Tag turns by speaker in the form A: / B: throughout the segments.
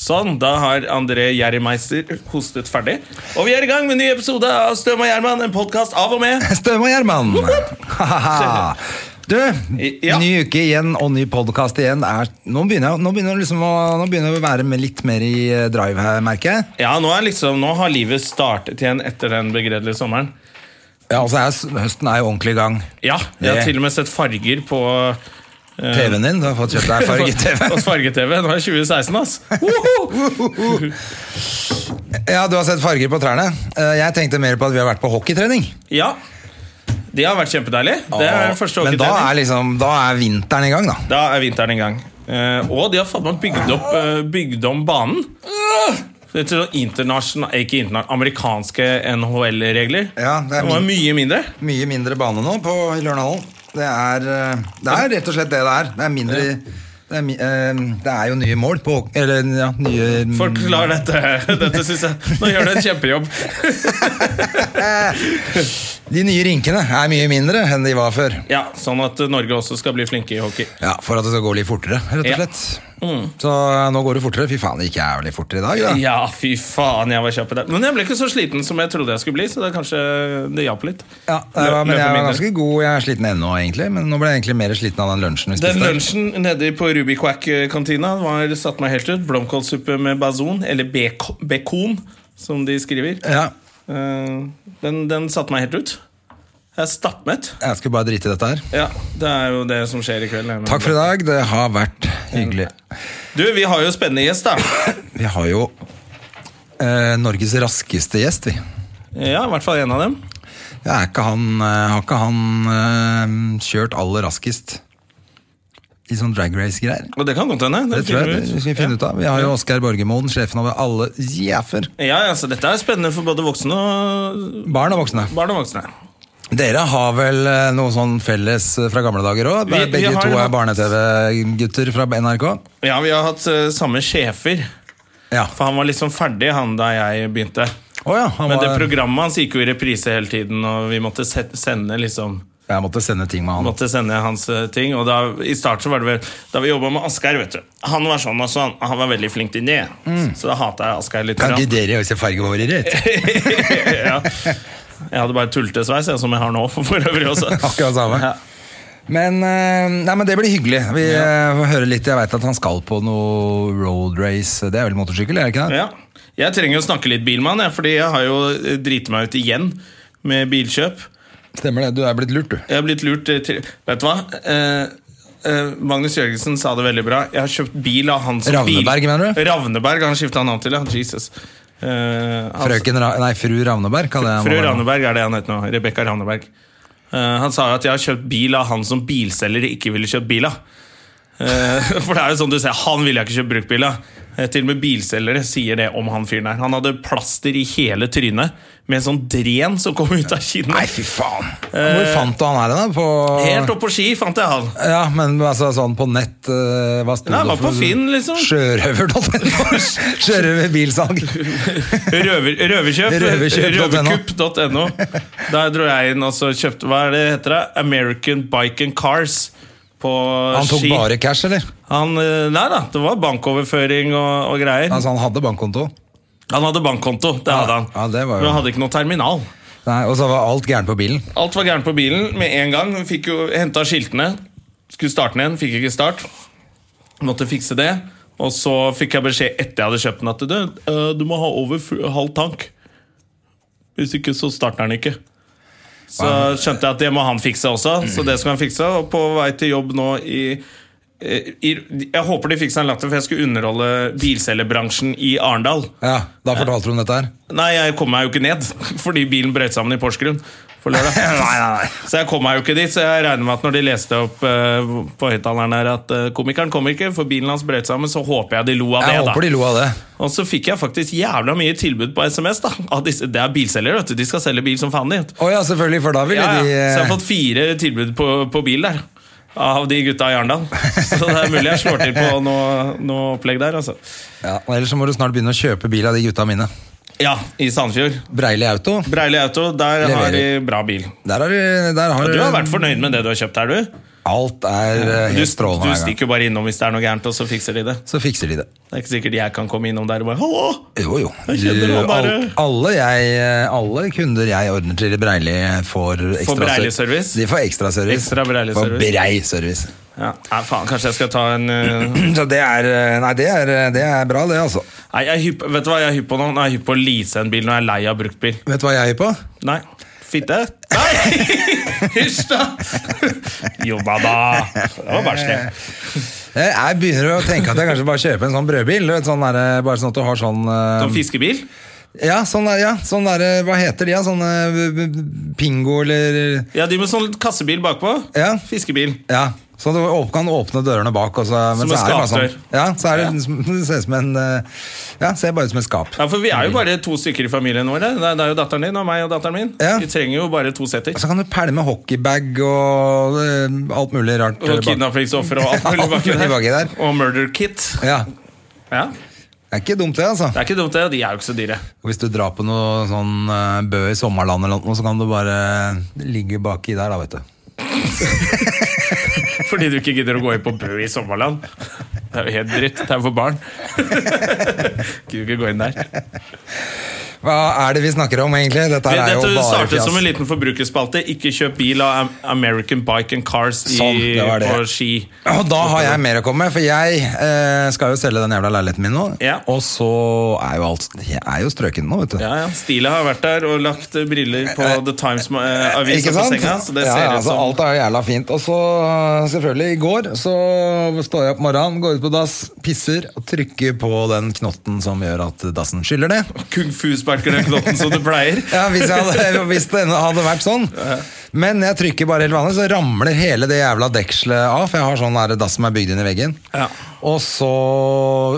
A: Sånn, da har André Gjerrimeister hostet ferdig. Og vi er i gang med en ny episode av Støm og Gjerman, en podkast av og med.
B: Støm og Gjerman! Du,
A: Ja.
B: ny uke igjen og ny podkast igjen. Er, nå, begynner jeg, nå, begynner jeg liksom å, nå begynner jeg å være med litt mer i eh, drive her, merker jeg.
A: Ja, nå, er liksom, nå har livet startet igjen etter den begredelige sommeren.
B: Ja, altså, jeg, s- høsten er jo ordentlig i gang.
A: Ja, jeg har
B: Det-
A: til og med sett farger på
B: TV-en din, du har fått kjøpt deg farge-TV.
A: på farge-TV. Nå er det 2016, ass.
B: Ja, du har sett farger på trærne. Eh, Jeg tenkte mer på at vi har vært på hockeytrening.
A: Ja. Det har vært kjempedeilig. Det er den første
B: Men da
A: hockeytrening.
B: er, liksom, da er vinteren i gang, da.
A: Da er vinteren i gang. Eh, og de har faen meg bygd, opp, eh, bygd om banen. Det er til sånn internasjonal- ikke internasjonal, amerikanske NHL-regler.
B: Ja, det er
A: var
B: min-
A: mye mindre.
B: Mye mindre bane nå på, i Lørenhallen. Det er, eh, det er rett og slett det det er. Det er mindre det er, mi- eh, det er jo nye mål på hockey- Eller ja, nye
A: Forklar dette. Dette synes jeg Nå gjør du en kjempejobb.
B: De nye rinkene er mye mindre enn de var før.
A: Ja, Sånn at Norge også skal bli flinke i hockey.
B: Ja, For at det skal gå litt fortere, rett
A: Ja.
B: og
A: Mm.
B: slett. Så eh, nå går det fortere. Fy faen, det gikk jævlig fortere i dag, da.
A: Ja, fy faen, jeg var kjapp i det. Men jeg ble ikke så sliten som jeg trodde jeg skulle bli, så det er kanskje det hjalp litt.
B: Ja, det var,
A: Lø-
B: men jeg var
A: løpe mindre.
B: ganske god. Jeg er sliten ennå, egentlig. Men nå ble jeg egentlig mer sliten av den lunsjen vi
A: Den
B: spiste.
A: lunsjen nede på Rubiquack-kantina var satt meg helt ut. Blomkålsuppe med bazon, eller bek- bekon, som de skriver.
B: Ja,
A: Eh, Den, den satte meg helt ut. Jeg er stappmett.
B: jeg skulle bare drite i dette her.
A: Ja, det er jo det som skjer i kveld. Men-
B: Takk for i dag. Det har vært hyggelig.
A: Du, vi har jo spennende gjest, da.
B: Vi har jo eh, Norges raskeste gjest, vi.
A: Ja, i hvert fall en av dem.
B: Ja, er ikke han, eh, har ikke han eh, kjørt aller raskest i sånn drag race-greier?
A: Og det kan godt hende.
B: Det tror jeg
A: finner
B: vi skal finne ut av. Vi har jo Oskar Borgermoen, sjefen over alle jæfer.
A: Ja, altså, dette er spennende for både voksne og
B: Barn og voksne.
A: barn og voksne.
B: Dere har vel eh, noe sånn felles eh, fra gamle dager òg?
A: Vi- vi
B: Begge
A: har
B: to er
A: hatt-
B: barne-TV-gutter fra NRK?
A: Ja, vi har hatt eh, samme sjefer.
B: Ja.
A: For han var liksom ferdig, han da jeg begynte.
B: Å ja, han
A: Men det
B: var,
A: programmet hans gikk jo i reprise hele tiden, og vi måtte se- sende liksom
B: jeg måtte sende ting med han.
A: måtte sende hans eh, ting. Og da, i starten så var det vel Da vi jobba med Asgeir, vet du. Han var sånn og sånn. og Han var veldig flink til det.
B: Mm.
A: Så da hata jeg Asgeir litt.
B: Kan
A: grann.
B: ikke dere også farge håret ditt?
A: ja. Jeg hadde bare tultesveis, jeg, som jeg har nå for øvrig også.
B: Akkurat samme.
A: Ja.
B: Men, eh, nei, men det blir hyggelig. Vi eh, får høre litt. Jeg veit at han skal på noe road race. Det er vel motorsykkel, er det ikke det?
A: Ja. Jeg trenger jo å snakke litt bilmann, jeg, fordi jeg har jo eh, driti meg ut igjen med bilkjøp.
B: Stemmer det. Du er blitt lurt, du.
A: Jeg har blitt lurt eh, til Vet du hva? Eh, eh, Magnus Jørgensen sa det veldig bra. Jeg har kjøpt bil av han som
B: Ravneberg,
A: bil.
B: mener du?
A: Ravneberg, han skifta navn til, ja. Jesus. Eh, han-
B: Frøken Ra Nei, fru Ravneberg. kaller jeg han
A: Fru
B: nå.
A: Ravneberg er det han heter nå. Rebekka Ravneberg. Eh, han sa jo at jeg har kjøpt bil av han som bilselger ikke ville kjøpt bil av. Eh, for det er jo sånn du ser, han ville jeg ikke kjøpt bruktbil av. Eh, til og med bilselgere sier det om han fyren her. Han hadde plaster i hele trynet med en sånn dren som kom ut av
B: Nei,
A: kinnet.
B: fy faen! Hvor fant du han her, da? På
A: Eh, Helt opp på ski fant jeg han.
B: Ja, men altså sånn på nett eh, Hva sto
A: Nei,
B: det
A: var på Finn, liksom.
B: Sjørøver.no. Sjørøverbilsalg.
A: Røver, røverkjøp.
B: Røverkjøp.no.
A: Røverkupp.no. Der dro jeg inn og så kjøpte Hva er det det heter? da? American Bike and Cars. På
B: Han tok
A: ski.
B: bare cash, eller?
A: Han, eh, nei da, det var bankoverføring og, og greier.
B: Altså, han hadde bankkonto.
A: han hadde bankkonto, det hadde han.
B: ja, det var jo-
A: Men han hadde ikke noe terminal.
B: Nei, Og så var alt gærent på bilen.
A: Alt var gærent på bilen med en gang. Vi Fikk jo henta skiltene. Skulle starte den igjen, fikk ikke start. Måtte fikse det. Og så fikk jeg beskjed etter jeg hadde kjøpt den, at du, eh, du må ha over fu- halv tank. Hvis ikke, så starter den ikke. Så skjønte jeg at det må han fikse også, så det skal han fikse. Og på vei til jobb nå i eh, i- Jeg håper de fikk seg en latter, for jeg skulle underholde bilselgerbransjen i Arendal.
B: Ja, Da fortalte du om dette her.
A: Nei, jeg kom meg jo ikke ned, fordi bilen brøt sammen i Porsgrunn. For lørdag. Så jeg kom meg jo ikke dit, så jeg regner med at når de leste opp eh, på høyttaleren her at eh, komikeren kom ikke, for bilen hans brøt sammen, så håper jeg de lo av det.
B: Jeg
A: da
B: håper de lo av det.
A: Og så fikk jeg faktisk jævla mye tilbud på SMS. da av disse, Det er bilselgere, vet du. De skal selge bil som faen. de, vet du.
B: Å ja, selvfølgelig, for da ville
A: Ja, ja.
B: de
A: Så
B: eh,
A: jeg har fått fire tilbud på, på bil der. Av de gutta i Arendal. Så det er mulig jeg slår til på noe, noe opplegg der. altså
B: ja, og Ellers så må du snart begynne å kjøpe bil av de gutta mine.
A: Ja, i Sandfjord.
B: Breili Auto.
A: Breili Auto, der har de
B: Leverer.
A: bra bil.
B: Der har du, der har
A: Du har
B: du-
A: vært fornøyd med det du har kjøpt her, du?
B: Alt er eh,
A: Du,
B: helt strålende
A: du
B: hver gang.
A: stikker jo bare innom hvis det er noe gærent, og så fikser de det.
B: Så fikser de det.
A: Det er ikke sikkert jeg kan komme innom der og bare Hallo!
B: Jo, jo.
A: Jeg kjenner
B: Du,
A: han bare-
B: al- alle, jeg, eh, alle kunder jeg ordner til i Breili, får ekstra
A: Breili-service?
B: De får ekstra service.
A: Ekstra
B: For
A: Breili-service.
B: brei service.
A: Ja, nei, faen, kanskje jeg skal ta en eh,
B: Så det er, eh, nei, det er, det er bra, det, altså.
A: Nei, jeg er hypp, vet du hva jeg er hypp på nå? Nå er jeg hypp på å lease en bil når jeg er lei av bruktbil.
B: Vet du hva jeg er på?
A: Nei. Fitte? Nei! Hysj, da! Jobba, da. Det var barnslig.
B: Jeg jeg begynner å tenke at jeg kanskje bare kjøper en sånn brødbil. du Vet, sånn der, bare sånn at du har sånn eh,
A: Som fiskebil?
B: Ja, sånn der, ja, sånn der hva heter de? Ja, sånn eh, pingo eller
A: Ja, de med sånn kassebil bakpå.
B: Ja.
A: Fiskebil.
B: Ja, så du åp- kan åpne dørene bak. Og så, men
A: Som en
B: så er det bare
A: skapdør.
B: Sånn, ja, så er det, det ser ut som en eh, Ja, ser bare ut som et skap.
A: Ja, for Vi er jo bare to stykker i familien vår. Det er- det er jo datteren din og meg og datteren min.
B: Ja.
A: Vi trenger jo bare to setter.
B: Så kan du pælme hockeybag og eh, alt mulig rart.
A: Og
B: bak.
A: kidnappingsoffer og alt mulig
B: Alt
A: baki
B: mulig baki
A: der.
B: der.
A: Og murder kit.
B: Ja,
A: Ja,
B: det er ikke dumt, det, altså.
A: Det er ikke dumt, det. De er jo ikke så dyre.
B: Og Hvis du drar på noe sånn eh, Bø i sommerland eller noe, så kan du bare ligge baki der, da, vet du.
A: Fordi du ikke gidder å gå inn på Bø i sommerland. Det er jo helt dritt. Det er jo for barn. Gidder ikke gå inn der.
B: Hva er det vi snakker om, egentlig? Dette her er jo
A: Dette
B: bare
A: startet som en
B: fjas.
A: liten forbrukerspalte. Ikke kjøp bil av Am- American Bike and Cars i,
B: Sånn, det var det.
A: på Ski.
B: Og da har jeg mer å komme med, for jeg eh, skal jo selge den jævla leiligheten min nå.
A: Ja.
B: Og så er jo alt Jeg er jo strøken nå, vet du.
A: Ja, ja. Stila har vært der og lagt eh, briller på The eh, Times-avisa
B: Ikke
A: på
B: sant?
A: senga. Så det
B: ja,
A: ser ut
B: altså,
A: som
B: Alt er jævla fint. Og så, selvfølgelig, i går så står jeg opp morgenen, går ut på dass, pisser og trykker på den knotten som gjør at dassen skyller ned.
A: kung fu-sparker den knotten som det pleier.
B: Ja, hvis, jeg hadde, hvis det hadde vært sånn. Men jeg trykker bare helt vanlig, så ramler hele det jævla dekselet av. For jeg har sånn der dass som er bygd inn i veggen.
A: Ja.
B: Og så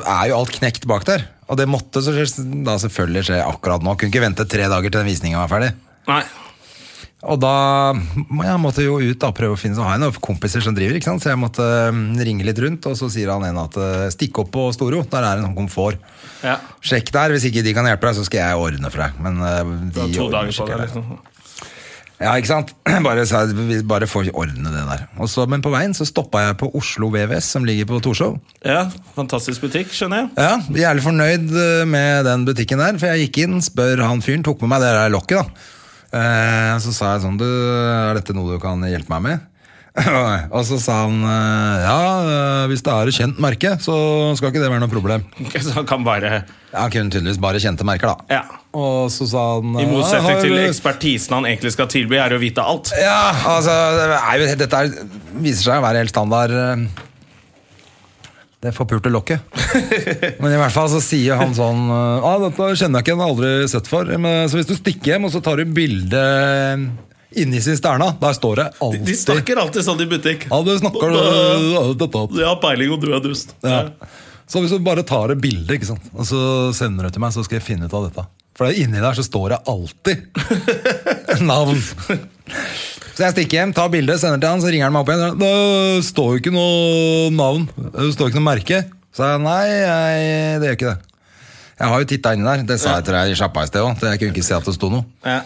B: er jo alt knekt bak der. Og det måtte så da selvfølgelig skje akkurat nå. Kunne ikke vente tre dager til den visninga var ferdig.
A: Nei.
B: Og da må jeg måtte jo ut da, prøve å finne Så har jeg noen kompiser som driver, ikke sant? så jeg måtte øhm, ringe litt rundt. Og så sier han en at øh, stikk opp på Storo, der er det noen komfort.
A: Ja.
B: Sjekk der, hvis ikke de kan hjelpe deg, så skal jeg ordne for deg. Men øh,
A: Du
B: de
A: har to
B: ordner
A: dager på
B: sikkert
A: deg.
B: det.
A: Liksom.
B: Ja, ikke sant? Bare, sa- vi bare få ordne det der. Og så, men på veien så stoppa jeg på Oslo VVS, som ligger på Torshov.
A: Ja, Fantastisk butikk, skjønner jeg.
B: Ja, Jævlig fornøyd eh, med den butikken der, for jeg gikk inn, spør han fyren, tok med meg det der lokket, da. Eh, så sa jeg sånn, du, er dette noe du kan hjelpe meg med? og så sa han eh, ja, eh, hvis det er et kjent merke, så skal ikke det være noe problem.
A: Ok, Så han kan bare
B: Ja, Han kunne tydeligvis bare kjente merker, da.
A: Ja.
B: Og så sa han
A: I
B: eh,
A: motsetning
B: «Ja,
A: til
B: har-
A: ekspertisen han egentlig skal tilby, er å vite alt.
B: Ja, altså det er jo, Dette er, viser seg å være helt standard eh, Det forpulte lokket Men i hvert fall så sier han sånn eh, ah, Dette kjenner jeg ikke, den har jeg aldri sett for men, Så hvis du stikker hjem og så tar du bilde eh, Inni sin sterna Der står det alltid
A: De snakker alltid sånn i butikk.
B: Ja, du snakker
A: sånn.
B: eh, dette opp.
A: Jeg har peiling, og du er dust.
B: ja. Så hvis du bare tar et bilde ikke sant? Og så sender du til meg så skal jeg finne ut av dette For det er inni der så står det alltid Navn så jeg stikker hjem, tar bildet, sender til han, så ringer han meg opp igjen. Det står jo ikke noe navn, det står ikke noe merke. Så jeg nei, jeg, det gjør ikke det. Jeg har jo titta inni der, det sa jeg til deg i sjappa i sted òg. Jeg kunne ikke se at det sto noe.
A: Ja.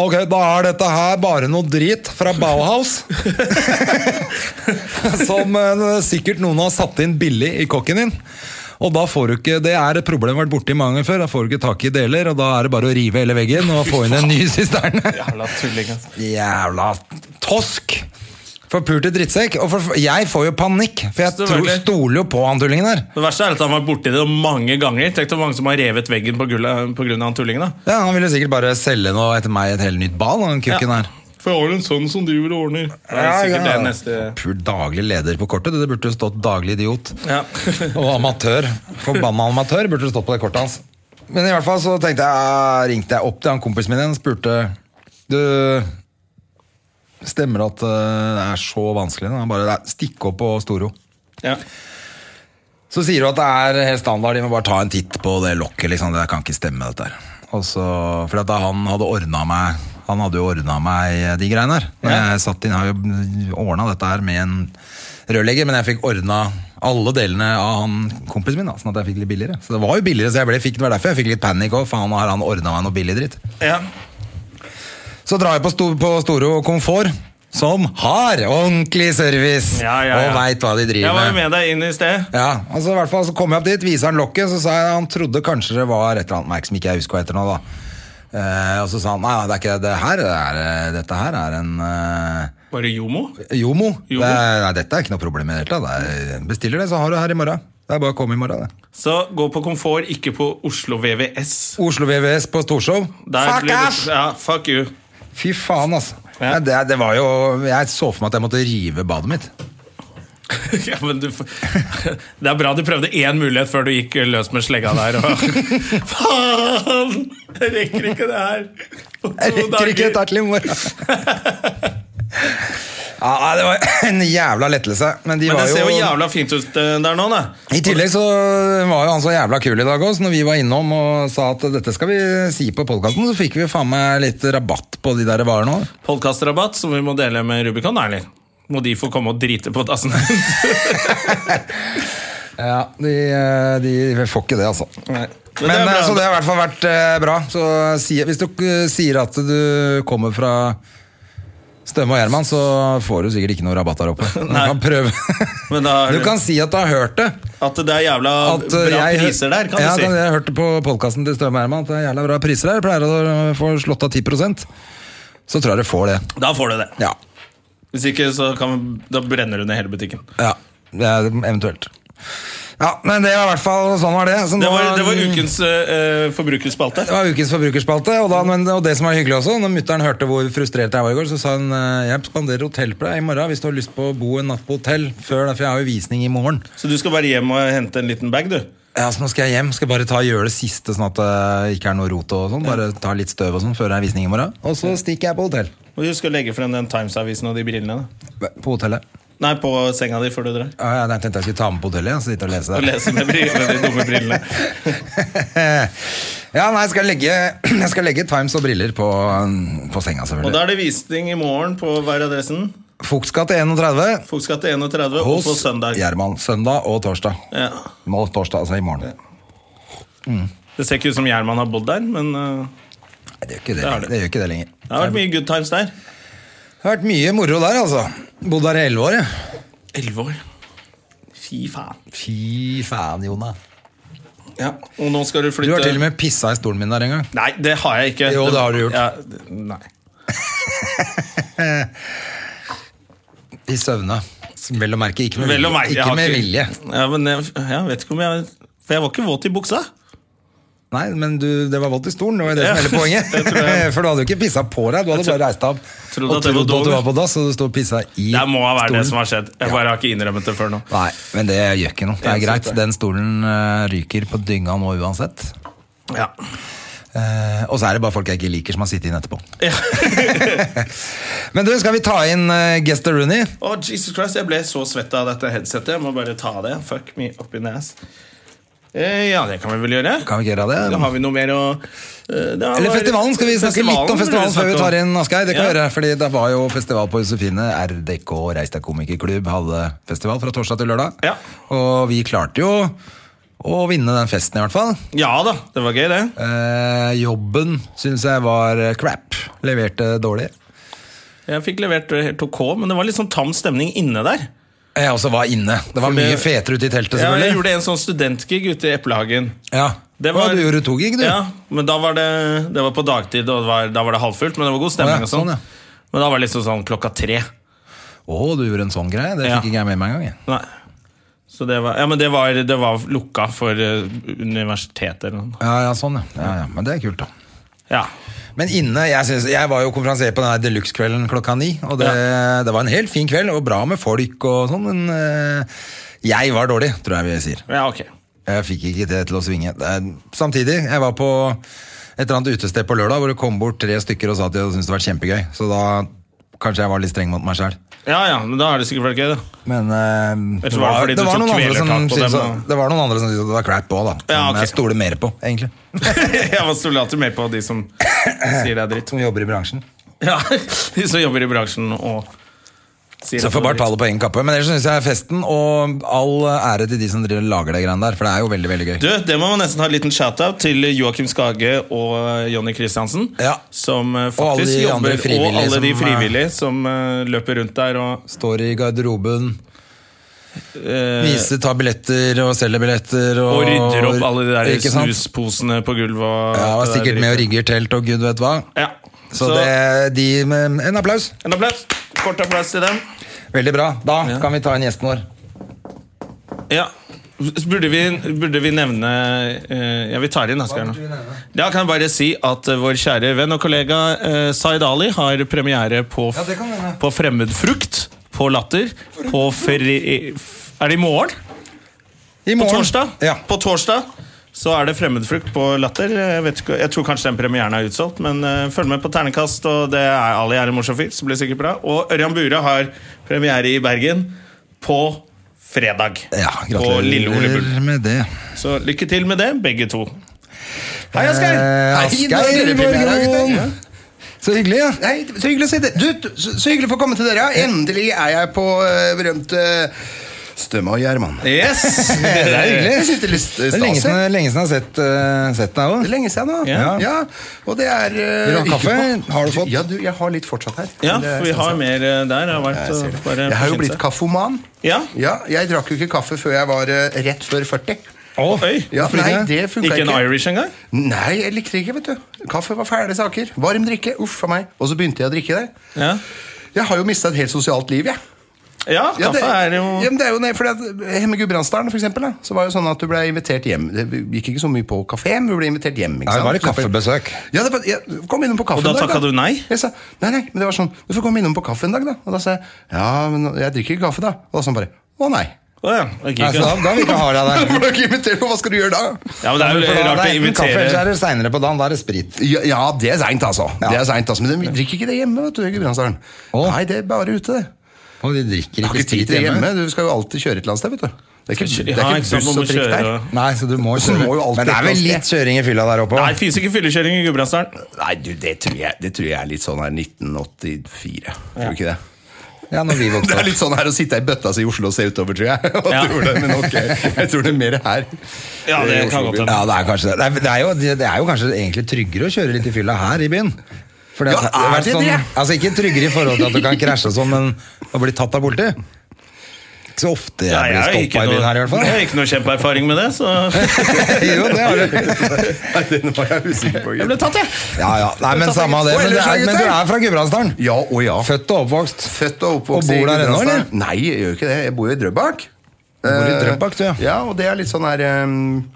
B: Ok, da er dette her bare noe drit fra Bauhaus. Som eh, sikkert noen har satt inn billig i kokken din. Og da får du ikke, Det er et problem vært borti mange ganger før. Da får du ikke tak i deler, og da er det bare å rive hele veggen og få inn en ny sisterne.
A: Jævla tulling, ass.
B: altså. Jævla tosk! Forpulte drittsekk. Og for, jeg får jo panikk, for jeg tror,
A: Selvfølgelig.
B: stoler jo på han tullingen der.
A: Det verste er at han var borti det mange ganger. Tenk deg hvor mange som har revet veggen pga. han tullingen. da
B: Ja, Han ville sikkert bare selge noe etter meg et helt nytt ball, han kukken
A: Ja.
B: her.
A: For jeg har en sønn som driver og ordner. Det er sikkert det neste
B: Pur daglig leder på kortet. Det burde jo stått 'daglig idiot'.
A: ja.
B: Og amatør. Forbanna amatør burde det stått på det kortet hans. Men i hvert fall så tenkte jeg, ah, ringte jeg opp til han kompisen min igjen og spurte Du, stemmer det at eh, det er så vanskelig? nå?» Han bare «Nei, Stikk opp på Storo.
A: ja.
B: Så sier du at det er helt standard, de må bare ta en titt på det lokket. liksom, Det kan ikke stemme, dette her. Og så- For at da han hadde ordna meg han hadde jo ordna meg eh, de greiene her. Når
A: Ja.
B: Jeg satt inn, har jo ordna dette her med en rørlegger, men jeg fikk ordna alle delene av han kompisen min, da, sånn at jeg fikk litt billigere. Så det var jo billigere, så jeg ble, fikk, det var derfor jeg fikk litt panikk òg, for han har han ordna meg noe billig dritt.
A: ja.
B: Så drar jeg på, sto, på Storo Komfort, som har ordentlig service
A: Ja, ja, ja.
B: og veit hva de driver
A: Jeg var jo med deg inn i sted.
B: ja, altså i hvert fall så kom jeg opp dit, viser han lokket, så sa jeg han trodde kanskje det var et eller annet merke som ikke jeg husker hva heter nå, da. Eh, og så sa han nei, nei, det er ikke det her, det er, eh, dette her er en eh,
A: Var det Jomo?
B: Jomo.
A: Jomo.
B: Det er, nei, dette er ikke noe problem i det hele tatt. Det er- Bestiller det, så har du det her i morgen. Det er bare å komme i morgen, det.
A: Så gå på komfort, ikke på Oslo VVS.
B: Oslo VVS på Storshow.
A: Der
B: Fuck
A: blir det-
B: ass!
A: Ja, fuck you.
B: Fy faen, altså. Nei,
A: Ja.
B: Det, det var jo Jeg så for meg at jeg måtte rive badet mitt.
A: ja, men du, det er bra du prøvde én mulighet før du gikk løs med slegga der. Og, faen! Jeg rekker ikke det her. På to
B: Jeg rekker ikke
A: dager.
B: dette til i morgen. ja, nei, det var en jævla lettelse. Men de
A: Men det
B: var
A: ser
B: jo
A: jo jævla fint ut eh, der nå, da.
B: I tillegg så var jo han så jævla kul i dag òg, så når vi var innom og sa at dette skal vi si på podkasten, så fikk vi faen meg litt rabatt på de der varene òg.
A: Podkastrabatt som vi må dele med Rubicon, da, eller? Må de få komme og drite på dassen?
B: Ja, de, eh, de får ikke det, altså.
A: Nei.
B: Men,
A: Men det er
B: eh,
A: bra.
B: Så det har i hvert fall vært eh, bra. Så si, hvis du eh, sier at du kommer fra Støme og Gjerman, så får du sikkert ikke noe rabatt der oppe. Men Du
A: Nei.
B: kan prøve.
A: Men da er
B: du
A: det-
B: kan si at du har hørt det.
A: At det er jævla
B: At eh,
A: bra
B: jeg,
A: priser der, kan
B: ja,
A: du si.
B: Jeg hørte på podkasten til Støme og Gjerman at det er jævla bra priser der. Jeg Pleier å få slått av 10 Så tror jeg du får det.
A: Da får du det.
B: Ja.
A: Hvis ikke, så kan, da brenner du ned hele butikken.
B: ja. Det er eventuelt. Ja, men det var i hvert fall sånn var det. Så
A: Det
B: nå-
A: var, det var ukens eh, forbrukerspalte.
B: Det var ukens forbrukerspalte, og, da, men, og det som var hyggelig også, når mutter'n hørte hvor frustrert jeg var i går, så sa hun eh, jeg spanderer hotell på deg i morgen hvis du har lyst på å bo en natt på hotell før, for jeg har jo visning i morgen.
A: Så du skal bare hjem og hente en liten bag, du?
B: Ja, så nå skal jeg hjem, skal bare ta gjøre det siste sånn at det ikke er noe rot og sånn, bare ta litt støv og sånn før det er visning i morgen. Og så stikker jeg på hotell.
A: Og husk å legge frem den Times-avisen og de brillene. da.
B: På hotellet.
A: Nei, på senga di før du drar.
B: Ja, ja, jeg tenkte jeg skulle ta med på hotellet, ja, så sitte og lese.
A: Og lese med, bri- med de dumme brillene.
B: ja, nei, jeg skal legge, jeg skal legge Times og briller på, på senga
A: Og
B: selvfølgelig.
A: da er det visning i morgen på hver adressen.
B: Fuktskatt 31
A: Fogsgate 31 og
B: hos
A: på søndag.
B: Gjerman. Søndag og torsdag.
A: Ja.
B: Nå torsdag, altså i morgen.
A: Det ser ikke ut som Gjerman har bodd der, men eh,
B: Nei, det gjør ikke det,
A: Det er
B: lenger.
A: det.
B: det gjør ikke det lenger.
A: det har vært mye good times der.
B: Det har vært mye moro der, altså. Bodd der i elleve år, jeg.
A: Elleve år. Fy faen.
B: Fy faen, Jona.
A: Ja. Og nå skal du
B: Du eh,
A: flytte
B: har til og med pissa i stolen min der en gang.
A: Nei, det har jeg ikke.
B: Jo, det har du gjort.
A: Ja, det- nei.
B: I søvne. Vel å merke, ikke med
A: Vel
B: vilje.
A: å merke. jeg
B: ikke
A: har
B: med vilje.
A: Ja, men jeg, jeg vet ikke om jeg For jeg var ikke våt i buksa.
B: Nei, men du, det var vått i stolen, det var jo det
A: Ja,
B: som hele
A: det
B: poenget.
A: tror jeg.
B: For du hadde jo ikke pissa på deg, du hadde bare reist deg opp
A: trodde
B: og
A: at det
B: trodd
A: var
B: at du
A: dog.
B: var på dass, og du sto og pissa i
A: Det må ha vært det
B: stolen.
A: som har skjedd. Jeg bare har ikke innrømmet det før nå.
B: Nei, men det gjør ikke noe. Det er
A: Eneste
B: greit.
A: det.
B: Den stolen eh, ryker på dynga nå uansett.
A: Ja.
B: Eh, og så er det bare folk jeg ikke liker, som har sittet inn etterpå.
A: Ja.
B: Men du, skal vi ta inn uh, Gester Rooney?
A: Å, Jesus Christ, jeg ble så svett av dette headsetet. Jeg må bare ta det. Fuck me up in the ass. Eh, ja, det kan vi vel gjøre.
B: Kan vi ikke gjøre det?
A: Da har vi noe mer å eh, det har
B: Eller
A: bare-
B: festivalen, skal vi snakke litt om festivalen før vi tar inn Asgeir? Det kan vi
A: Ja.
B: gjøre, fordi det var jo festival på Josefine. RDK Reis deg komikerklubb hadde festival fra torsdag til lørdag.
A: Ja.
B: Og vi klarte jo å vinne den festen, i hvert fall.
A: Ja da, det var gøy, det.
B: Eh, jobben syns jeg var eh, crap. Leverte dårlig.
A: Jeg fikk levert eh, helt OK, men det var litt sånn tam stemning inne der.
B: Jeg også var inne. Det var
A: For det-
B: mye fetere ute i teltet,
A: Ja, jeg
B: selvfølgelig.
A: gjorde en sånn studentgig ute i Eplehagen.
B: Ja,
A: Det
B: Å,
A: var-
B: Du gjorde to gig, du.
A: Ja, men da var det, det var på dagtid, og det var, da var det halvfullt, men det var god
B: Å,
A: stemning.
B: ja,
A: og sånn.
B: sånn, ja.
A: Men da var det liksom sånn klokka tre.
B: Å, du gjorde en sånn greie? Det
A: Ja.
B: fikk ikke jeg med meg engang. jeg.
A: Nei. Så det var, ja, men det var, det var lukka for eh, universitetet eller noe.
B: Ja, ja, sånn, ja. ja, ja. Men det er kult, da.
A: Ja.
B: Men inne, jeg, synes, jeg var jo konferansier på den her deluxe-kvelden klokka ni, og det, det var en helt fin kveld, og bra med folk og sånn, men eh, jeg var dårlig, tror jeg vi sier.
A: ja, ok.
B: Jeg fikk ikke det til å svinge. Det er- Samtidig, jeg var på et eller annet utested på lørdag, hvor det kom bort tre stykker og sa at de syntes det var kjempegøy, så da kanskje jeg var litt streng mot meg selv.
A: Ja, ja, men da er det sikkert veldig gøy, da.
B: Men eh,
A: Ellers var det fordi du tok
B: noen andre som
A: kvelertak på
B: syntes
A: dem,
B: at-
A: og-
B: det var noen andre som syntes at det var crap òg, da. Som
A: Ja, ok.
B: jeg stoler mer på, egentlig.
A: Jeg var stolater mer på de som sier det er dritt.
B: Som jobber i bransjen.
A: Ja, De som jobber i bransjen og sier
B: Så
A: at
B: får
A: det er
B: bare ta det på egen kappe. Men ellers syns jeg festen, og all ære til de som driver og lager de greiene der, for det er jo veldig, veldig gøy.
A: Du, Det må man nesten ha en liten shout-out til Joakim Skage og eh, Jonny Christiansen.
B: Ja.
A: Som eh,
B: Og alle
A: faktisk
B: de andre
A: jobber, og
B: frivillige
A: alle de
B: som, eh,
A: frivillige som eh, løper rundt der og
B: Står i garderoben,
A: eh,
B: viser, tar billetter og selger billetter. Og,
A: og rydder opp alle de der
B: Ikke sant?
A: snusposene på gulvet. Og
B: Ja, var
A: alt det der
B: sikkert med og
A: dritet.
B: rigger telt og gud vet hva.
A: Ja.
B: Så, det, de med En applaus.
A: En applaus. Kort applaus til dem.
B: Veldig bra. Da
A: Ja.
B: kan vi ta inn gjesten vår.
A: Ja. Burde vi, burde vi nevne eh, Ja, vi tar inn Asgeir nå. Da kan jeg bare si at eh, vår kjære venn og kollega eh, Zaid Ali har premiere på, f-
B: Ja, det kan hende.
A: på Fremmedfrukt. På Latter. På fri... Er det i morgen?
B: I
A: På
B: morgen.
A: torsdag?
B: Ja.
A: På torsdag så er det Fremmedfrukt på Latter. Jeg, vet ikke, jeg tror kanskje den premieren er utsolgt, men eh, følg med på Ternekast. Og det er Ali er en morsom fyr, så blir det sikkert bra. Og Ørjan Bure har premiere i Bergen på fredag.
B: Ja,
A: på Lille Ole Bull.
B: gratulerer med det.
A: Så lykke til med det, begge to. Hei, Asgeir!
B: Eh,
A: Hei, nå er
B: Asgeir
A: dere premiere, gutter.
B: Borgron! Så hyggelig, ja.
C: Hei, så hyggelig å se dere. Du, så, så hyggelig å få komme til dere. ja. Endelig er jeg på eh, berømte Stømme og Gjerman.
A: Yes!
B: Det er hyggelig.
C: Jeg synes det er litt
B: Det er lenge
C: stas.
B: siden,
C: jeg.
B: lenge siden jeg har sett, eh, sett deg
C: Det er
B: òg.
C: lenge siden nå.
A: Ja.
C: ja. Og det er eh,
B: Vil du ha
C: ikke
B: kaffe?
C: bra.
B: Har du fått?
C: Ja, du, jeg har litt fortsatt her.
A: Ja,
C: Men det er
A: vi
C: stas,
A: har
C: ja.
A: mer eh, der. Jeg har vært
C: Jeg, ser
A: og
C: det.
A: bare
C: jeg har jo
A: forsynt
C: blitt
A: seg.
C: kafoman.
A: Ja.
C: Ja, jeg drakk jo ikke kaffe før jeg var eh, rett før 40.
A: Oi.
C: Ja,
B: Hvorfor
C: nei,
B: ikke?
C: det funka
A: Ikke en Irish engang?
C: Nei, jeg likte det ikke, vet du. Kaffe var fæle saker. Varm drikke, uff a meg. Og så begynte jeg å drikke det.
A: Ja.
C: Jeg har jo mista et helt sosialt liv, jeg.
A: ja,
C: Ja,
A: kaffe er jo
C: ja, men det er jo ned, fordi at Hjemme i Gudbrandsdalen, for eksempel, da, så var det jo sånn at du ble invitert hjem. Det gikk ikke så mye på kafé, men du ble invitert hjem. ikke
B: Nei,
C: sant?
B: var det kaffebesøk?
C: Ja, det var, jeg kom innom på kaffe
A: Og da
C: en dag,
A: takka du nei?
C: Jeg sa, nei, nei, men det var sånn, du får komme innom på kaffe en dag, da. Og da sa jeg, ja, men jeg drikker ikke kaffe, da. Og da sa han bare, å nei.
A: Å ja. ok,
B: Nei, så da,
A: ikke.
B: da vil vi ikke ha deg der.
C: Du ble ikke invitert, og hva skal du gjøre da?
A: ja, men det er
B: For
A: jo
B: da-
A: rart
B: det
A: å
B: er enten Kaffe, eller så
A: invitere
B: er det seinere på dagen. Da er det sprit.
C: Ja, ja, det er seint, altså.
B: Ja.
C: Det er sent, altså. Men de drikker ikke det hjemme, vet du, i Gudbrandsdalen.
B: Å.
C: Nei, det er bare ute, det.
B: Og de drikker
C: Du har
B: ikke
C: ikke tid
B: sprit
C: til det
B: hjemme.
C: hjemme. Du skal jo alltid kjøre et eller annet sted, vet du. Det er ikke,
A: Ja,
C: det er
A: ikke
C: ikke
A: sant,
C: buss
A: man må
C: og trikk
A: kjøre
C: der.
A: og-
B: Nei, så du må
C: Så
B: kjøre.
C: må jo alt
B: Men det er vel
C: drikke.
B: litt kjøring i fylla der oppe
A: Nei,
B: òg.
A: fins ikke fyllekjøring i Gudbrandsdalen.
C: Nei, du, det tror jeg, det tror jeg er litt sånn her 1984. Tror du ikke det?
B: Ja, når vi
C: Det
B: vokste
C: er
B: opp.
C: litt sånn her å sitte i bøtta si i Oslo og se utover, tror jeg. Hva
A: Ja.
C: tror du? Men ok, jeg tror det er mer her.
A: Ja, det
C: I Oslo
A: kan godt
C: by.
A: hende.
B: Ja, det er kanskje det. Det er, det, er jo, det er jo kanskje egentlig tryggere å kjøre litt i fylla her i byen. For
C: Ja, er det
B: sånn,
C: det?
B: Altså Ikke tryggere i forhold til at du kan krasje og sånn, men å bli tatt av politi. Ikke så ofte
A: Nei,
B: jeg
A: jeg har
B: blir
A: ikke
B: stoppa i byen her, i
A: noe,
B: hvert
A: jeg har
B: fall.
A: ikke noe kjempeerfaring med det, så jeg
B: jo, det har du.
C: Nei, den var jeg usikker på.
A: ble tatt, jeg.
B: Ja, ja. Nei, men samme av det.
C: Og
B: Men, det
C: ellers,
B: er, men du
C: gutter?
B: er fra Gudbrandsdalen?
C: Ja og ja.
B: Født og oppvokst?
C: Født og oppvokst
B: Og bor der ennå, eller?
C: Gudbrandsdalen. Nei, jeg gjør ikke det. Jeg bor jo i Drøbak.
B: Du
C: Eh,
B: bor i Drøbak, du, ja.
C: Ja, og det er litt sånn her ehm,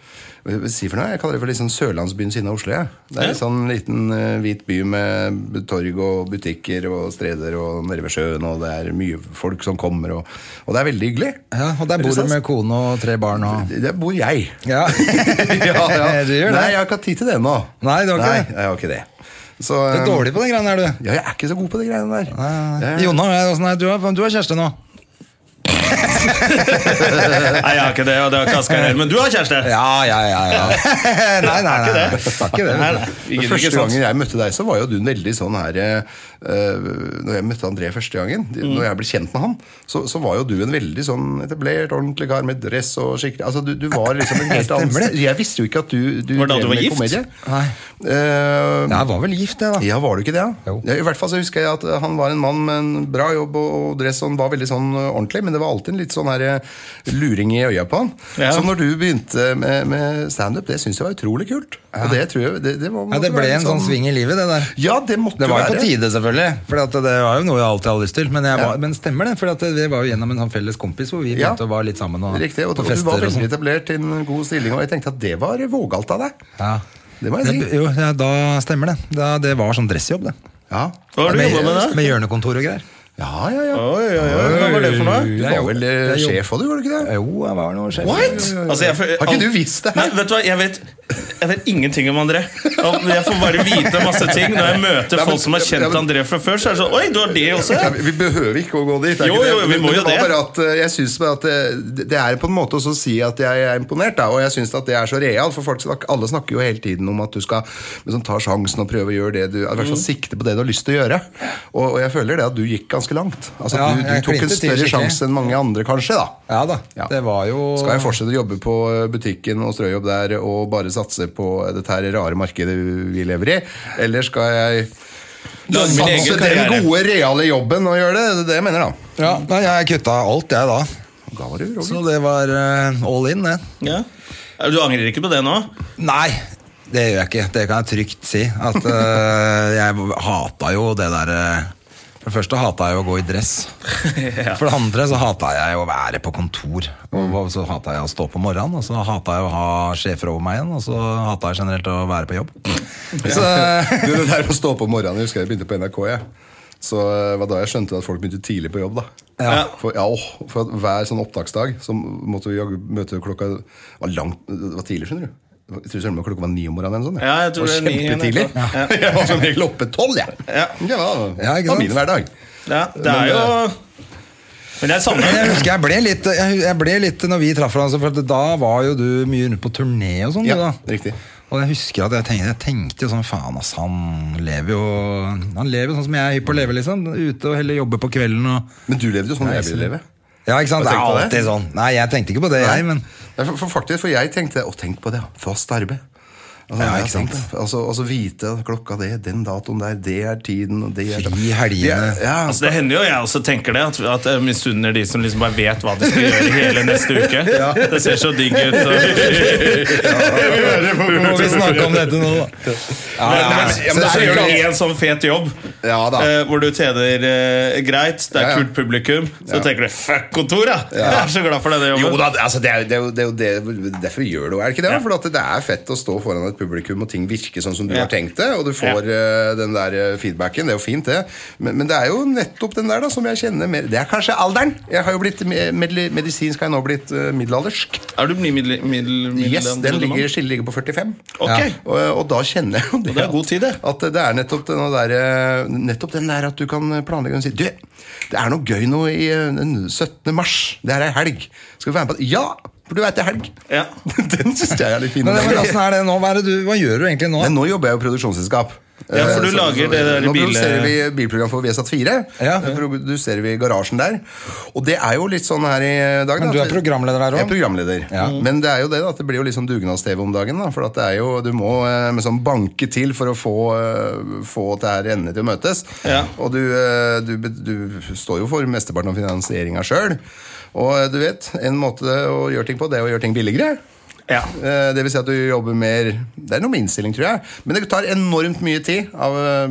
C: hva skal jeg si for noe? Jeg kaller det for litt sånn Sørlandsbyen siden av Oslo. jeg. Det er en sånn liten eh, hvit by med torg og butikker og streder og nede ved sjøen, og det er mye folk som kommer, og, og det er veldig hyggelig.
B: Ja, og der bor du med kone og tre barn og
C: Der bor jeg.
B: Ja, du gjør det.
C: Nei, jeg har ikke hatt tid til det ennå.
B: Nei, du har ikke det.
C: Nei, jeg har ikke det. Så,
B: Du er
C: ehm,
B: dårlig på den greia der, du.
C: Ja, jeg er ikke så god på de greiene der. Jeg-
B: Jonna, jeg- åssen er det? du har, du har kjæreste nå?
A: Nei, jeg har ikke det, og det har ikke Asgeir heller. Men du har kjæreste!
B: Ja, ja, ja. ja. nei, nei, nei. nei. Det er ikke det.
A: Nei,
B: vet
A: nei,
B: du.
A: ikke-
C: Men
A: ikke
C: første
A: sant.
C: gangen jeg møtte deg, så var jo du veldig sånn her eh, Når jeg møtte André første gangen, de-
A: Mm.
C: når jeg ble kjent med han, så, så var jo du en veldig sånn etablert, ordentlig kar med dress og skikkelig Altså, du, du var liksom en helt annen
B: Stemmer det.
C: sted. Jeg visste jo ikke at du, du
A: Var det da
C: drev
A: du var
C: med
A: gift?
B: Nei.
C: Eh,
B: Jeg var vel gift, jeg, da.
C: ja, var du ikke det? da?
B: Jo.
C: Ja, I hvert fall så husker jeg at eh, han var en mann med en bra jobb og og dress, og han var veldig sånn eh, ordentlig, men det var alltid en litt sånn her eh, luring i øya på han.
A: Ja.
C: Så når du begynte med, med standup, det syns jeg var utrolig kult. Og det tror jeg det, det var,
B: Ja, Det
C: måtte
B: ble
C: være
B: en sånn sving i livet, det der.
C: Ja, det måtte
B: Det var jo
C: være.
B: på tide, selvfølgelig. For at det var jo noe jeg alltid hadde lyst til. Men, jeg var,
C: Ja.
B: men stemmer det? For at vi var jo gjennom en sånn felles kompis hvor vi
C: Ja.
B: begynte å være litt sammen og
C: Riktig, og,
B: på
C: og du var
B: fester og
C: veldig
B: sånn.
C: etablert i en god stilling, og jeg tenkte at det var vågalt av deg.
B: Ja.
C: Det må jeg si.
B: Jo, ja, da stemmer det. Da, det var sånn dressjobb, det.
C: Ja,
A: Hva har du jobba med det?
B: med hjørnekontor og greier.
C: ja, ja. ja.
A: Oi, oi, oi, hva var det for noe?
C: Du var vel eh, sjef òg, du, var du ikke det?
B: Jo, jeg var noe sjef.
A: Altså, jeg får-
C: Har ikke du visst det her?
A: Nei, vet du hva, jeg vet, jeg vet ingenting om André. Og Jeg får bare vite masse ting når jeg møter
C: Nei, men-
A: folk som har kjent
C: ja, men-
A: André fra før. Så er det sånn Oi, du har det også?
C: Ja,
A: ja?»
C: vi- vi behøver ikke å gå dit. det er
A: Jo,
C: ikke det.
A: jo, vi
C: Men-
A: må
C: men
A: jo
C: det. var
A: det.
C: Bare at, eh, jeg synes bare at eh, det- det er på en måte også å si at jeg er imponert, da, og jeg syns at det er så real. For folk snak, alle snakker jo hele tiden om at du skal liksom, ta sjansen og prøve å gjøre det du I hvert fall
A: Mm.
C: sikte på det du har lyst til å gjøre. Og, og jeg føler det at du gikk ganske langt. Altså,
B: Ja,
C: du, du
B: jeg
C: tok en
B: klinte til
C: større
B: skikkelig.
C: sjanse enn mange andre, kanskje. da
B: Ja da.
C: Ja.
B: Det var jo
C: skal jeg fortsette å jobbe på eh, butikken og strøjobb der og bare satse på dette her rare markedet vi lever i? Eller skal jeg
A: Lage min egen
C: satse
A: karriere.
C: den gode, reale jobben og gjøre det? Det er det jeg mener, da.
B: Ja, nei, jeg kutta alt, jeg da.
C: Da var du
B: Så
C: Roger.
B: det var eh, all in, det.
A: Ja. Du angrer ikke på det nå?
B: Nei, det gjør jeg ikke. Det kan jeg trygt si. At eh, jeg hata jo det der eh, For det første hata jeg jo å gå i dress.
A: Ja.
B: For det andre så hata jeg jo å være på kontor. Og
C: Mm.
B: og så hata jeg å stå på morgenen, og så hata jeg å ha sjefer over meg igjen, og så hata jeg generelt å være på jobb. Så, eh,
C: Du, det der å stå på morgenen, jeg husker jeg begynte på NRK, jeg. Så eh, var da jeg skjønte at folk begynte tidlig på jobb, da.
B: ja.
C: For, ja, åh, for at hver sånn opptaksdag så måtte vi jaggu møte klokka det var, langt, det var tidlig, skjønner du. Jeg tror søren meg klokka var ni om morgenen. eller noe sånt,
A: Ja, jeg tror
C: det var
A: det er ni,
C: kjempetidlig.
A: ja.
C: Jeg var som regel oppe tolv, jeg.
A: Ja.
C: det var,
B: Ja, ikke
C: det var
B: sant?
C: min hverdag.
A: Ja, det er
C: Men,
A: jo Men jeg
B: Men
A: savner
B: Jeg
A: det.
B: husker jeg ble litt, jeg, jeg ble litt når vi traff hverandre, for at da var jo du mye rundt på turné og sånn. du
C: Ja,
B: da.
C: riktig.
B: Og jeg husker at jeg tenkte, jeg tenkte jo sånn, faen ass, han lever jo Han lever jo sånn som jeg er hypp på å leve, liksom. Ute og heller jobbe på kvelden og
C: Men du levde jo sånn jeg ville leve.
B: Ja, ikke sant? Det
C: Hva
B: er
C: tenkte du
B: alltid sånn. Nei, jeg tenkte ikke på det, jeg, men
C: Nei, for, for faktisk, for jeg tenkte Å, tenk på det, ja. fast arbeid. Altså,
B: Ja,
C: jeg
B: ikke sant.
C: tenkte, Altså, altså vite at klokka det, den datoen der, det er tiden og det er
B: Fri i helgene.
C: Ja, ja,
A: Altså, det hender jo jeg også tenker det, at, eh, at jeg misunner de som liksom bare vet hva de skal gjøre hele neste uke. Det ser så digg ut.
B: Nå må vi snakke om dette nå, da. Ja,
A: Men,
B: ja,
A: men,
B: ja.
A: ja, men
C: Så
A: så
C: det er
A: gjør du
C: jo-
A: én sånn fet jobb,
C: Ja, da.
A: eh, hvor du tjener eh, greit, det er
C: Ja, ja.
A: kult publikum, så
C: Ja.
A: tenker du 'fuck kontor', ja. Jeg er så glad for denne
C: Jo
A: jobben.
C: da, altså det er, det er, jo- det er jo det, derfor vi gjør det, er det ikke det?
A: Ja.
C: For at det er fett å stå foran et publikum, og ting virker sånn som du
A: Ja.
C: har tenkt det, og du får eh, den der eh, feedbacken. Det er jo fint, det. Men, men det er jo nettopp den der da, som jeg kjenner mer Det er kanskje alderen! Jeg har jo blitt me- medli- medisinsk, har jeg nå blitt eh, middelaldersk.
A: Er du middel... middel, middel
C: Yes, den ligger, skillet ligger på 45.
A: Ok.
B: Ja.
C: Og, og da kjenner jeg jo det,
A: det er god tid, det.
C: at det er nettopp den der, eh, nettopp den der at du kan planlegge og si Du, det er noe gøy nå i eh, den 17. mars. Det her er helg. Skal du være med på det? Ja! For du veit det er helg.
A: Ja.
C: den syns jeg er litt fin.
B: Men, men altså, åssen er det nå? Hva, er det du, hva gjør du egentlig nå?
C: Men nå jobber jeg jo i produksjonsselskap.
A: Ja, for du
C: Eh,
A: lager det der
C: Nå
A: bil-
C: produserer vi bilprogram for VSAT4.
B: Ja.
C: Eh, Produserer vi Garasjen der. Og det er jo litt sånn her i dag.
B: Men
C: da,
B: du er
C: at-
B: programleder der også?
C: Jeg er programleder. Mm.
B: Ja.
C: Men det er jo det da, at det blir jo litt sånn dugnads-TV om dagen. da, For at det er jo, du må eh, med sånn banke til for å få, eh, få det her endene til å møtes.
A: Ja.
C: Og du, eh, du, be- du står jo for mesteparten av finansieringa sjøl. Og eh, du vet, en måte å gjøre ting på, det er å gjøre ting billigere.
A: Ja.
C: Eh, Det vil si at du jobber mer Det er noe med innstilling, tror jeg. Men det tar enormt mye tid av eh,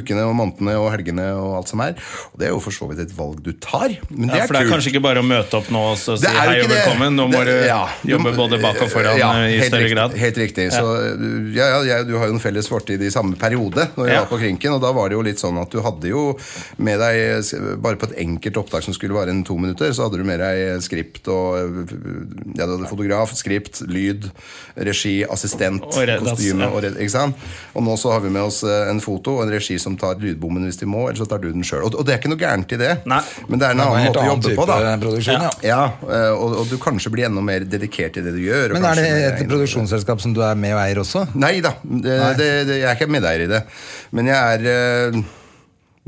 C: ukene og månedene og helgene og alt som er. Og det er jo for så vidt et valg du tar, men det
A: ja,
C: er
A: for det er
C: kult.
A: kanskje ikke bare å møte opp nå og så si
C: Det er jo
A: hei
C: ikke
A: og
C: det.
A: velkommen. Nå må
C: Det-
A: du
C: ja.
A: jobbe både bak og foran
C: Ja,
A: eh, i
C: helt
A: større
C: riktig,
A: grad.
C: Helt riktig. Så du- ja, ja, jeg, du har jo en felles fortid i samme periode når jeg
A: Ja.
C: var på Krinken, og da var det jo litt sånn at du hadde jo med deg eh, sk- Bare på et enkelt opptak som skulle vare en to minutter, så hadde du med deg skript og eh, Ja, du hadde fotograf, skript, lyd, regi, assistent,
A: Og redaks,
C: kostyme
A: ja.
C: og red, ikke sant? Og nå så har vi med oss eh, en foto og en regi som tar lydbommen hvis de må, eller så tar du den sjøl. Og, og det er ikke noe gærent i det,
A: Nei.
C: men det er en
B: Det var en
C: annen
B: helt
C: måte å
B: annen
C: jobbe
B: type
C: på, da.
B: produksjon, ja.
C: Ja, eh, og, og du kanskje blir enda mer dedikert i det du gjør. og
B: Men er det
C: kanskje-
B: et produksjonsselskap som du er med og eier også?
C: Nei da, det, det, det, jeg er ikke medeier i det. Men jeg er eh,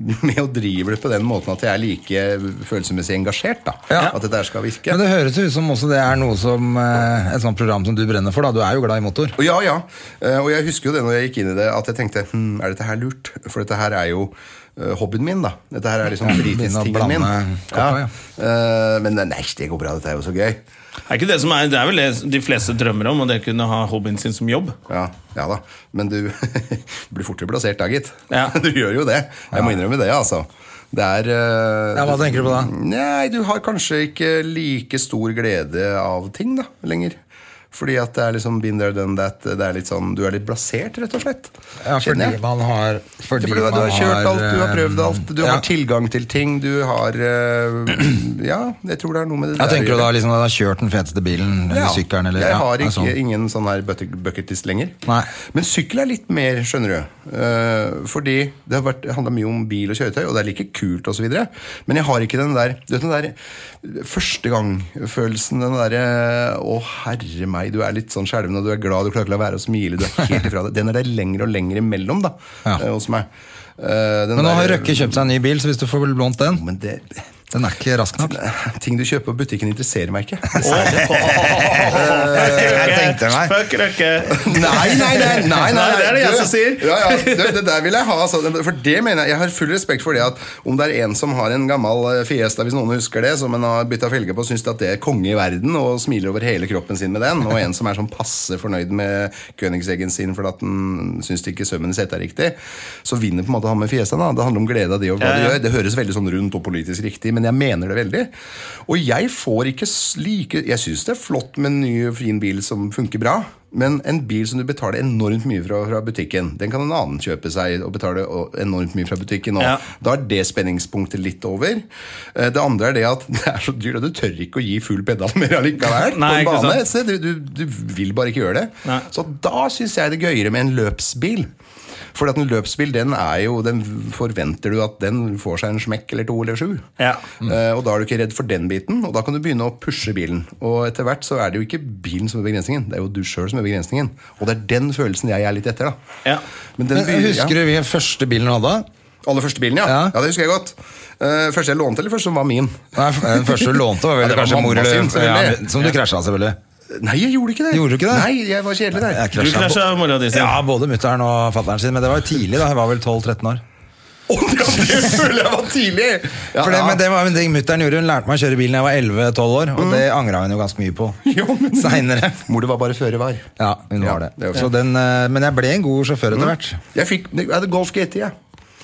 C: med og driver det på den måten at jeg er like følelsesmessig engasjert. da
B: Ja.
C: At dette her skal virke.
B: Men det høres jo ut som også det er noe som eh, et sånt program som du brenner for. da Du er jo glad i motor.
C: Og Ja, ja. Eh, Og jeg husker jo det når jeg gikk inn i det, at jeg tenkte hm, er dette her lurt? For dette her er jo eh, hobbyen min, da. Dette her er liksom
B: Ja, begynne å
C: fritidstingen
B: blande
C: min. Ja.
B: korta,
C: Eh, Men nei, det går bra, dette er jo så gøy.
A: Er ikke det, som er, det er vel det de fleste drømmer om, å det kunne ha hobbyen sin som jobb.
C: Ja, ja da. Men du blir fortere plassert da, gitt.
A: Ja.
C: Du gjør jo det. Jeg må innrømme det, altså. Det er eh,
B: Ja, hva tenker du på da?
C: Nei, du har kanskje ikke like stor glede av ting, da, lenger. Fordi at det er liksom been there, done that. Det er litt sånn, du er litt blasert, rett og slett.
B: Ja, fordi
C: Kjenner jeg.
B: man har
C: Ja,
B: fordi
C: for du, har-
B: man
C: du har kjørt alt, du har
B: eh,
C: prøvd alt, du
B: ja.
C: har tilgang til ting, du har eh, Ja, jeg tror det er noe med det
B: Jeg tenker
C: å
B: du da
C: gjøre.
B: liksom, at du har kjørt den feteste bilen eller
C: Ja.
B: sykkelen eller
C: Jeg
B: ja,
C: har
B: det er
C: ikke,
B: sånn.
C: ingen sånn her bucket- bucketlist lenger.
B: Nei.
C: Men sykkel er litt mer, skjønner du. Eh, fordi det har vært, handla mye om bil og kjøretøy, og det er like kult osv. Men jeg har ikke den der Du vet den der første gang-følelsen. Den derre Å, herre meg, du er litt sånn skjelven, og du er glad, du klarer ikke å la være å smile, du er helt ifra det. Den er det lenger og lenger imellom, da,
B: Ja.
C: eh, hos meg. Eh, den
B: Men nå har
C: der-
B: Røkke kjøpt seg en ny bil, så hvis du får lånt den
C: Men det
B: Den er ikke rask nok.
C: Ting du kjøper på butikken interesserer meg ikke.
B: Jeg tenkte meg.
A: Fuck røkke!
C: Nei, nei, nei, nei, nei,
A: Nei, det er det jeg som sier.
C: Ja, ja, det, det der vil jeg ha. altså. For det mener Jeg jeg har full respekt for det at om det er en som har en gammel eh, Fiesta, hvis noen husker det, som en har bytta felge på, syns at det er konge i verden og smiler over hele kroppen sin med den, og en som er sånn passe fornøyd med Königseggen sin fordi at den syns ikke sømmen i setet er riktig, så vinner på en måte han med Fiestaen. da. Det handler om glede av det og hva
A: Ja,
C: du
A: ja.
C: gjør. Det høres veldig sånn rundt og politisk riktig, men jeg mener det veldig. Og jeg får ikke s- like Jeg syns det er flott med en ny, fin bil som funker bra, men en bil som du betaler enormt mye fra, fra butikken, den kan en annen kjøpe seg og betale og- enormt mye fra butikken òg.
A: Ja.
C: Da er det spenningspunktet litt over. Eh, Det andre er det at det er så dyrt, og du tør ikke å gi full pedal mer allikevel. på
A: Nei,
C: en
A: ikke sant.
C: bane. Så Du, du, du vil bare ikke gjøre det.
A: Nei.
C: Så da syns jeg det er gøyere med en løpsbil. Fordi at en løpsbil, den er jo Den forventer du at den får seg en smekk eller to eller sju.
A: Ja.
B: Mm.
C: Eh, og da er du ikke redd for den biten, og da kan du begynne å pushe bilen. Og etter hvert så er det jo ikke bilen som er begrensningen, det er jo du sjøl som er begrensningen. Og det er den følelsen jeg er litt etter, da.
A: Ja.
C: Men den
B: Men
C: begynner-
B: Eh, Husker du hvilken første bilen du hadde?
C: Aller første bilen, ja. ja.
B: Ja.
C: det husker jeg godt. Eh, første jeg lånte, eller første som var min?
B: Nei, f- Den første du lånte, var
C: Ja,
B: vel
C: det var
B: kanskje mor
C: mamma
B: eller
C: sin, selvfølgelig.
B: ja, Som du krasja, selvfølgelig.
C: Nei, jeg gjorde ikke det.
B: Gjorde du ikke det?
C: Nei, jeg var kjedelig der.
B: Jeg
A: Du krasja mora di sin.
B: Ja, både mutter'n og fatter'n sin, men det var jo tidlig. da, Jeg var vel 12-13 år.
C: Å, ja, det føler jeg var tidlig! Ja,
B: For det,
C: ja.
B: men det var en ting mutter'n gjorde. Hun lærte meg å kjøre bilen da jeg var 11-12 år, og det angra hun jo ganske mye på
C: Mm. Jo, men-
B: seinere.
C: Mor, det var bare føre var.
B: Ja, hun
C: Ja,
B: var det.
C: det var
B: Så
C: fint.
B: den, eh, men jeg ble en god sjåfør etter hvert.
C: Jeg fikk jeg hadde Golf GT, jeg.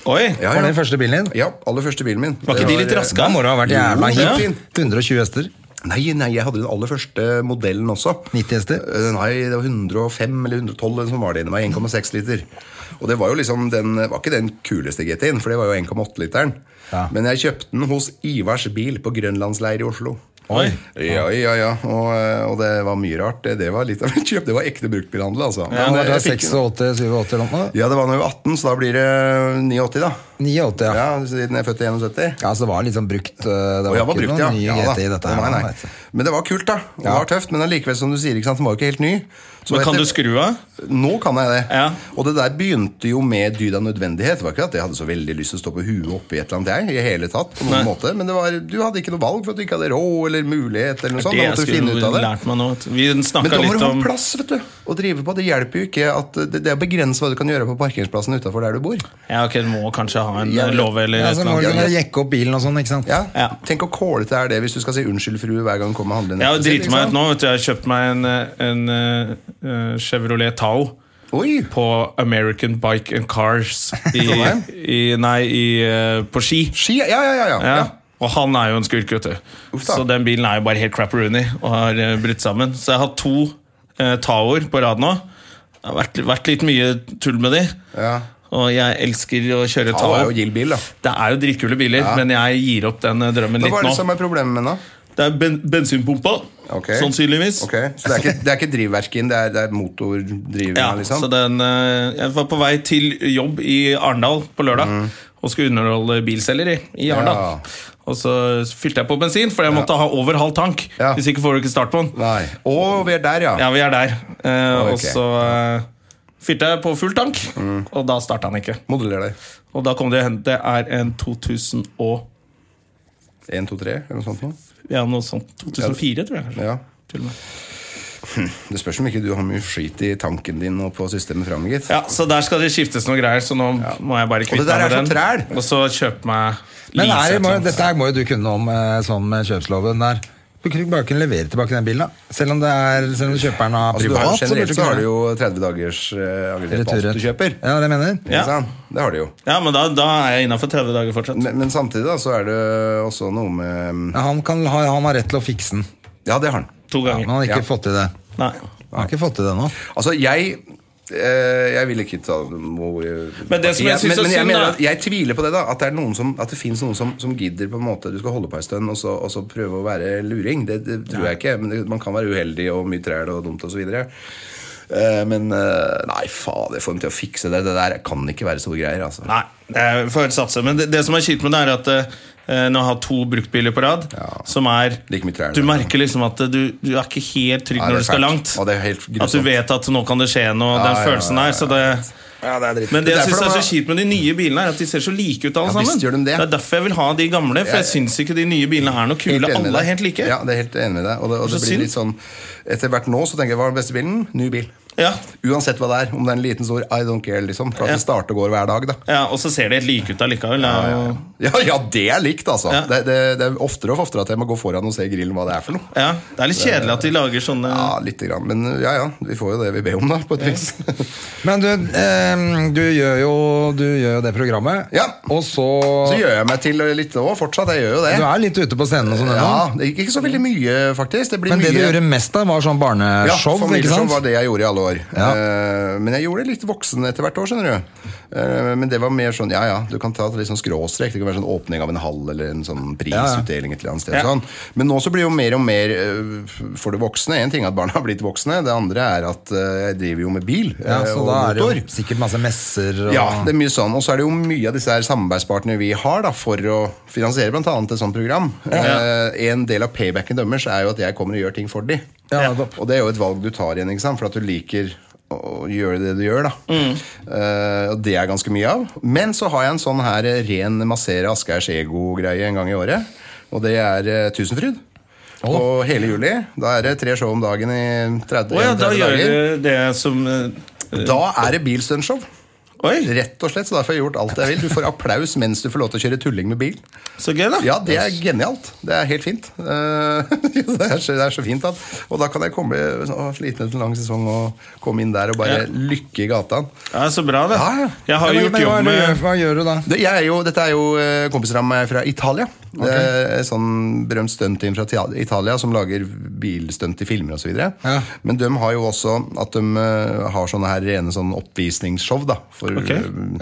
A: Oi!
C: Ja,
B: Var det
C: ja.
B: den første bilen din?
C: ja, aller første bilen min.
A: Var ikke de litt raske?
B: Da må du ha vært jævla
C: Jo, den er
B: hip. 120 hester.
C: Nei, nei, jeg hadde den aller første modellen også.
B: 90 hester?
C: Eh, Nei, det var 105 eller 112 eller som var det inni meg. 1,6 liter. Og det var jo liksom den, var ikke den kuleste GT-en, for det var jo 1,8-literen.
B: Ja.
C: Men jeg kjøpte den hos Ivars bil på Grønlandsleir i Oslo.
A: Oi.
C: Ja, ja, ja. Og, eh, og det var mye rart. Det, det var litt av et kjøp. Det var ekte bruktbilhandel, altså.
B: Ja,
C: Men,
B: nå
C: eh,
B: er det
C: jeg fikk-
B: 86-87 eller noe?
C: ja, det var da jeg var 18, så da blir det 89, da.
B: 89,
C: Ja,
B: ja.
C: Siden jeg er født i 71.
B: Ja, så det var litt sånn brukt. eh, Det
C: Og
B: var
C: jeg var
B: ikke
C: brukt,
B: noe
C: ja.
B: ny
C: ja da.
B: GT i dette. her,
C: nei, nei.
B: vet du.
C: Men det var kult, da. Og Det
B: Ja.
C: var tøft, men allikevel, som du sier, ikke sant, den var jo ikke helt ny. Så
A: Men kan
C: etter-
A: du skru av?
C: Nå kan jeg det.
A: Ja.
C: Og det der begynte jo med dyd av nødvendighet. Det var ikke at jeg hadde så veldig lyst til å stå på huet oppi et eller annet, jeg. I hele tatt, på noen
A: Nei.
C: måte. Men det var, du hadde ikke noe valg for at du ikke hadde råd eller mulighet eller noe sånt.
A: Det
C: Da
A: jeg
C: måtte du finne ut
A: skulle
C: av det.
A: lært meg nå. vet du. Vi
C: Men
A: snakka
C: da må du
A: litt
C: ha
A: om
C: plass vet du, å drive på. Det hjelper jo ikke at det, det er å begrense hva du kan gjøre på parkeringsplassen utafor der du bor.
A: Ja, ok, du må kanskje ha en
C: Ja,
A: eh, låve eller
B: Ja,
A: et
B: så
A: eller
B: må
A: annet.
B: du
C: Ja,
B: kunne jekke opp bilen og sånn, ikke sant?
C: Ja.
A: Ja.
C: Tenk hvor kålete er det hvis du skal si 'unnskyld, frue' hver gang du kommer og handler.
A: Jeg
C: nettet sitt,
A: driter
C: ikke
A: meg ut
C: sant?
A: nå. vet du Jeg har kjøpt meg en, eh, en eh, eh, Chevrolet Tao
C: Oi!
A: på American Bike and Cars i,
C: Trondheim?
A: i Nei, i, eh, på Ski.
C: Ski, ja, ja, ja, ja.
A: Ja.
C: ja.
A: Og han er jo en skurk, vet du.
C: Uff da.
A: Så den bilen er jo bare helt crapperoony og har eh, brutt sammen. Så jeg har to uh, Taoer på rad nå. Det har vært, vært litt mye tull med de.
C: Ja.
A: Og jeg elsker å kjøre
C: Tao
A: Tao.
C: er jo gild bil, da.
A: Det er jo dritkule biler, men jeg gir opp den eh, drømmen
C: Men
A: litt
C: hva er
A: nå.
C: det som er problemet med den, da?
A: Det er ben bensinpumpa,
C: Ok.
A: sannsynligvis.
C: Ok, Så det er ikke, det er ikke drivverket inn, det er, det er motordriveren?
A: Ja,
C: liksom.
A: så den, eh, jeg var på vei til jobb i Arendal på lørdag og skulle underholde bilselger i, i Arendal.
C: Mm. Ja.
A: Og så fylte jeg på bensin, for jeg måtte ha over halv tank.
C: Ja.
A: Hvis ikke får du ikke start på den.
C: Nei. Å, vi er der, ja.
A: Ja, vi er der. Eh,
C: Ok. Mm.
A: Og så eh, fylte jeg på full tank, og da starta han ikke.
C: Modeller deg.
A: Og da kom det hen Det er en 2000 og
C: Én, to, tre, eller noe sånt noe.
A: Ja, noe sånt. 2004, tror jeg. kanskje.
C: Ja.
A: Til og med.
C: Det spørs om ikke du har mye skit i tanken din og på systemet framme, gitt.
A: Ja, så der skal det skiftes noen greier, så nå må jeg bare
C: Og det
A: kvitte
C: der
A: meg
C: er
A: med
C: så
A: den.
C: træl.
A: Og så kjøpe meg
B: Men er,
A: lease
B: må,
A: et eller annet.
B: dette her må jo du kunne om eh, sånn med kjøpsloven der. Du kunne ikke bare kunne levere tilbake den bilen, da. Selv om, det er, selv om kjøperen har
C: Altså, du
B: privat.
C: har,
B: så burde
C: generelt så
B: kunne
C: har du jo 30 dagers eh, angrep på alt
B: returer.
C: du kjøper.
B: Ja, det mener jeg.
A: Ja.
C: Ikke sant? Det har du jo.
A: Ja, men da, da er jeg innafor 30 dager fortsatt.
C: Men, men samtidig da, så er det også noe med
B: Ja, han, kan ha, han har rett til å fikse den.
C: Ja, det har han.
A: To
B: Men han
A: ganger.
B: har ikke
C: Ja.
B: fått til det.
A: Nei.
B: Jeg har ikke fått til det ennå.
C: Altså, jeg eh, jeg vil ikke ta noe
A: Men det som jeg synes er
C: men, men jeg,
A: synd,
C: mener
A: da-
C: at jeg tviler på det, da. At det, er noen som, at det finnes noen som, som gidder på en måte du skal holde på en stund, og så, og så prøve å være luring. Det, det tror jeg ikke. Men det, man kan være uheldig og mye træl og dumt osv. Uh, men eh, nei, fader, få dem til å fikse det. Det der kan ikke være store greier. Altså.
A: Nei, det er for å satse. Men det, det som er kjipt med det, er at eh, når jeg har to bruktbiler på rad,
C: Ja.
A: som er
C: Like mye trær,
A: Du
C: da.
A: merker liksom at du, du er ikke helt trygg
C: Nei, det er
A: når du skal
C: fælt.
A: langt.
C: Ja, det er helt
A: at du
C: grusomt.
A: vet at nå kan det skje noe.
C: Ja,
A: den
C: ja,
A: følelsen
C: ja,
A: der. Så det, men det
C: Det er
A: jeg syns
C: derfor
A: er
C: de
A: så
C: er-
A: kjipt med de nye bilene, er at de ser så like ut alle
C: Ja, visst
A: sammen.
C: gjør de det.
A: er derfor jeg vil ha de gamle, for jeg,
C: Jeg-
A: syns ikke de nye bilene er noe kule.
C: Helt enig med
A: Alle er
C: deg.
A: helt like.
C: Ja, det er helt enig med deg. Og det, og det
A: Så
C: blir
A: synd.
C: litt sånn Etter hvert nå så tenker jeg hva er den beste bilen? Ny bil.
A: Ja.
C: Uansett hva det er. Om det er en liten, stor I don't care, liksom. For at
A: Ja.
C: det starter og går hver dag, da.
A: Ja, og så ser de helt like ut allikevel. Det er jo-
C: Ja, ja, det er likt, altså.
A: Ja.
C: Det, det, det er oftere og oftere at jeg må gå foran og se i grillen hva det er for noe.
A: Ja, det er litt kjedelig at de lager sånne
C: Ja, lite grann. Men ja, ja. Vi får jo det vi ber om, da, på et vis.
B: Men du, ehm, du, gjør jo, du gjør jo det programmet,
C: Ja.
B: og så,
C: Så gjør jeg meg til litt òg, fortsatt. Jeg gjør jo det.
B: Du er litt ute på scenen og sånn ennå.
C: Ja, det gikk ikke så veldig mye, faktisk. Det blir
B: Men det du
C: mye
B: gjorde mest av, var sånn
C: Ja,
B: barneshow, ikke
C: familieshow
B: sant?
C: var det jeg gjorde i alle år.
B: Ja.
C: Eh, men jeg gjorde det litt voksen etter hvert år, skjønner du. Eh, men det var mer sånn, ja ja, du kan ta et litt sånn skråstrek. Det kan være sånn åpning av en hall eller en sånn prisutdeling et eller annet sted.
A: Ja.
C: Sånn. Men nå så blir det jo mer og mer eh, for det voksne. Én ting er at barna har blitt voksne, det andre er at eh, jeg driver jo med bil eh,
B: Ja, så
C: og
B: da er det
C: motor.
B: jo sikkert masse messer og
C: Ja, det er mye sånn. Og så er det jo mye av disse her samarbeidspartnerne vi har da, for å finansiere bl.a. et sånt program. Eh, en del av paybacken deres er jo at jeg kommer og gjør ting for de.
B: Ja, da-
C: Og det er jo et valg du tar igjen, ikke sant? for at du liker å gjøre det du gjør. da.
A: Mm.
C: Eh, og det er ganske mye av. Men så har jeg en sånn her eh, ren massere Ascheirs ego-greie en gang i året. Og det er eh, Tusenfryd. Og hele juli. Da er det tre show om dagen i 30,
A: Å ja, da
C: 31
A: gjør
C: dager.
A: du det som eh,
C: Da er det bilstuntshow.
A: Oi,
C: Rett og slett, så derfor har jeg gjort alt jeg vil. Du får applaus mens du får lov til å kjøre tulling med bil.
A: så gøy, da.
C: Ja, det er genialt. Det er helt fint. Eh, det, er så, det er så fint. At, og da kan jeg komme å, sliten etter en lang sesong og komme inn der og
A: Ja.
C: bare lykke i gata.
A: Ja, så bra, det.
C: Ja, ja.
A: Jeg har
B: Ja, men-
A: gjort
B: men hva,
A: jobb
B: er det du
A: med
B: gjør- hva gjør du da?
C: Det, jeg er jo, dette er jo eh, kompiser av meg fra Italia. Det er et sånn berømt stuntteam fra Tia- Italia som lager bilstunt i filmer osv. videre
B: Ja.
C: Men de har jo også at de eh, har sånne her rene sånn oppvisningsshow da, for
A: Ok.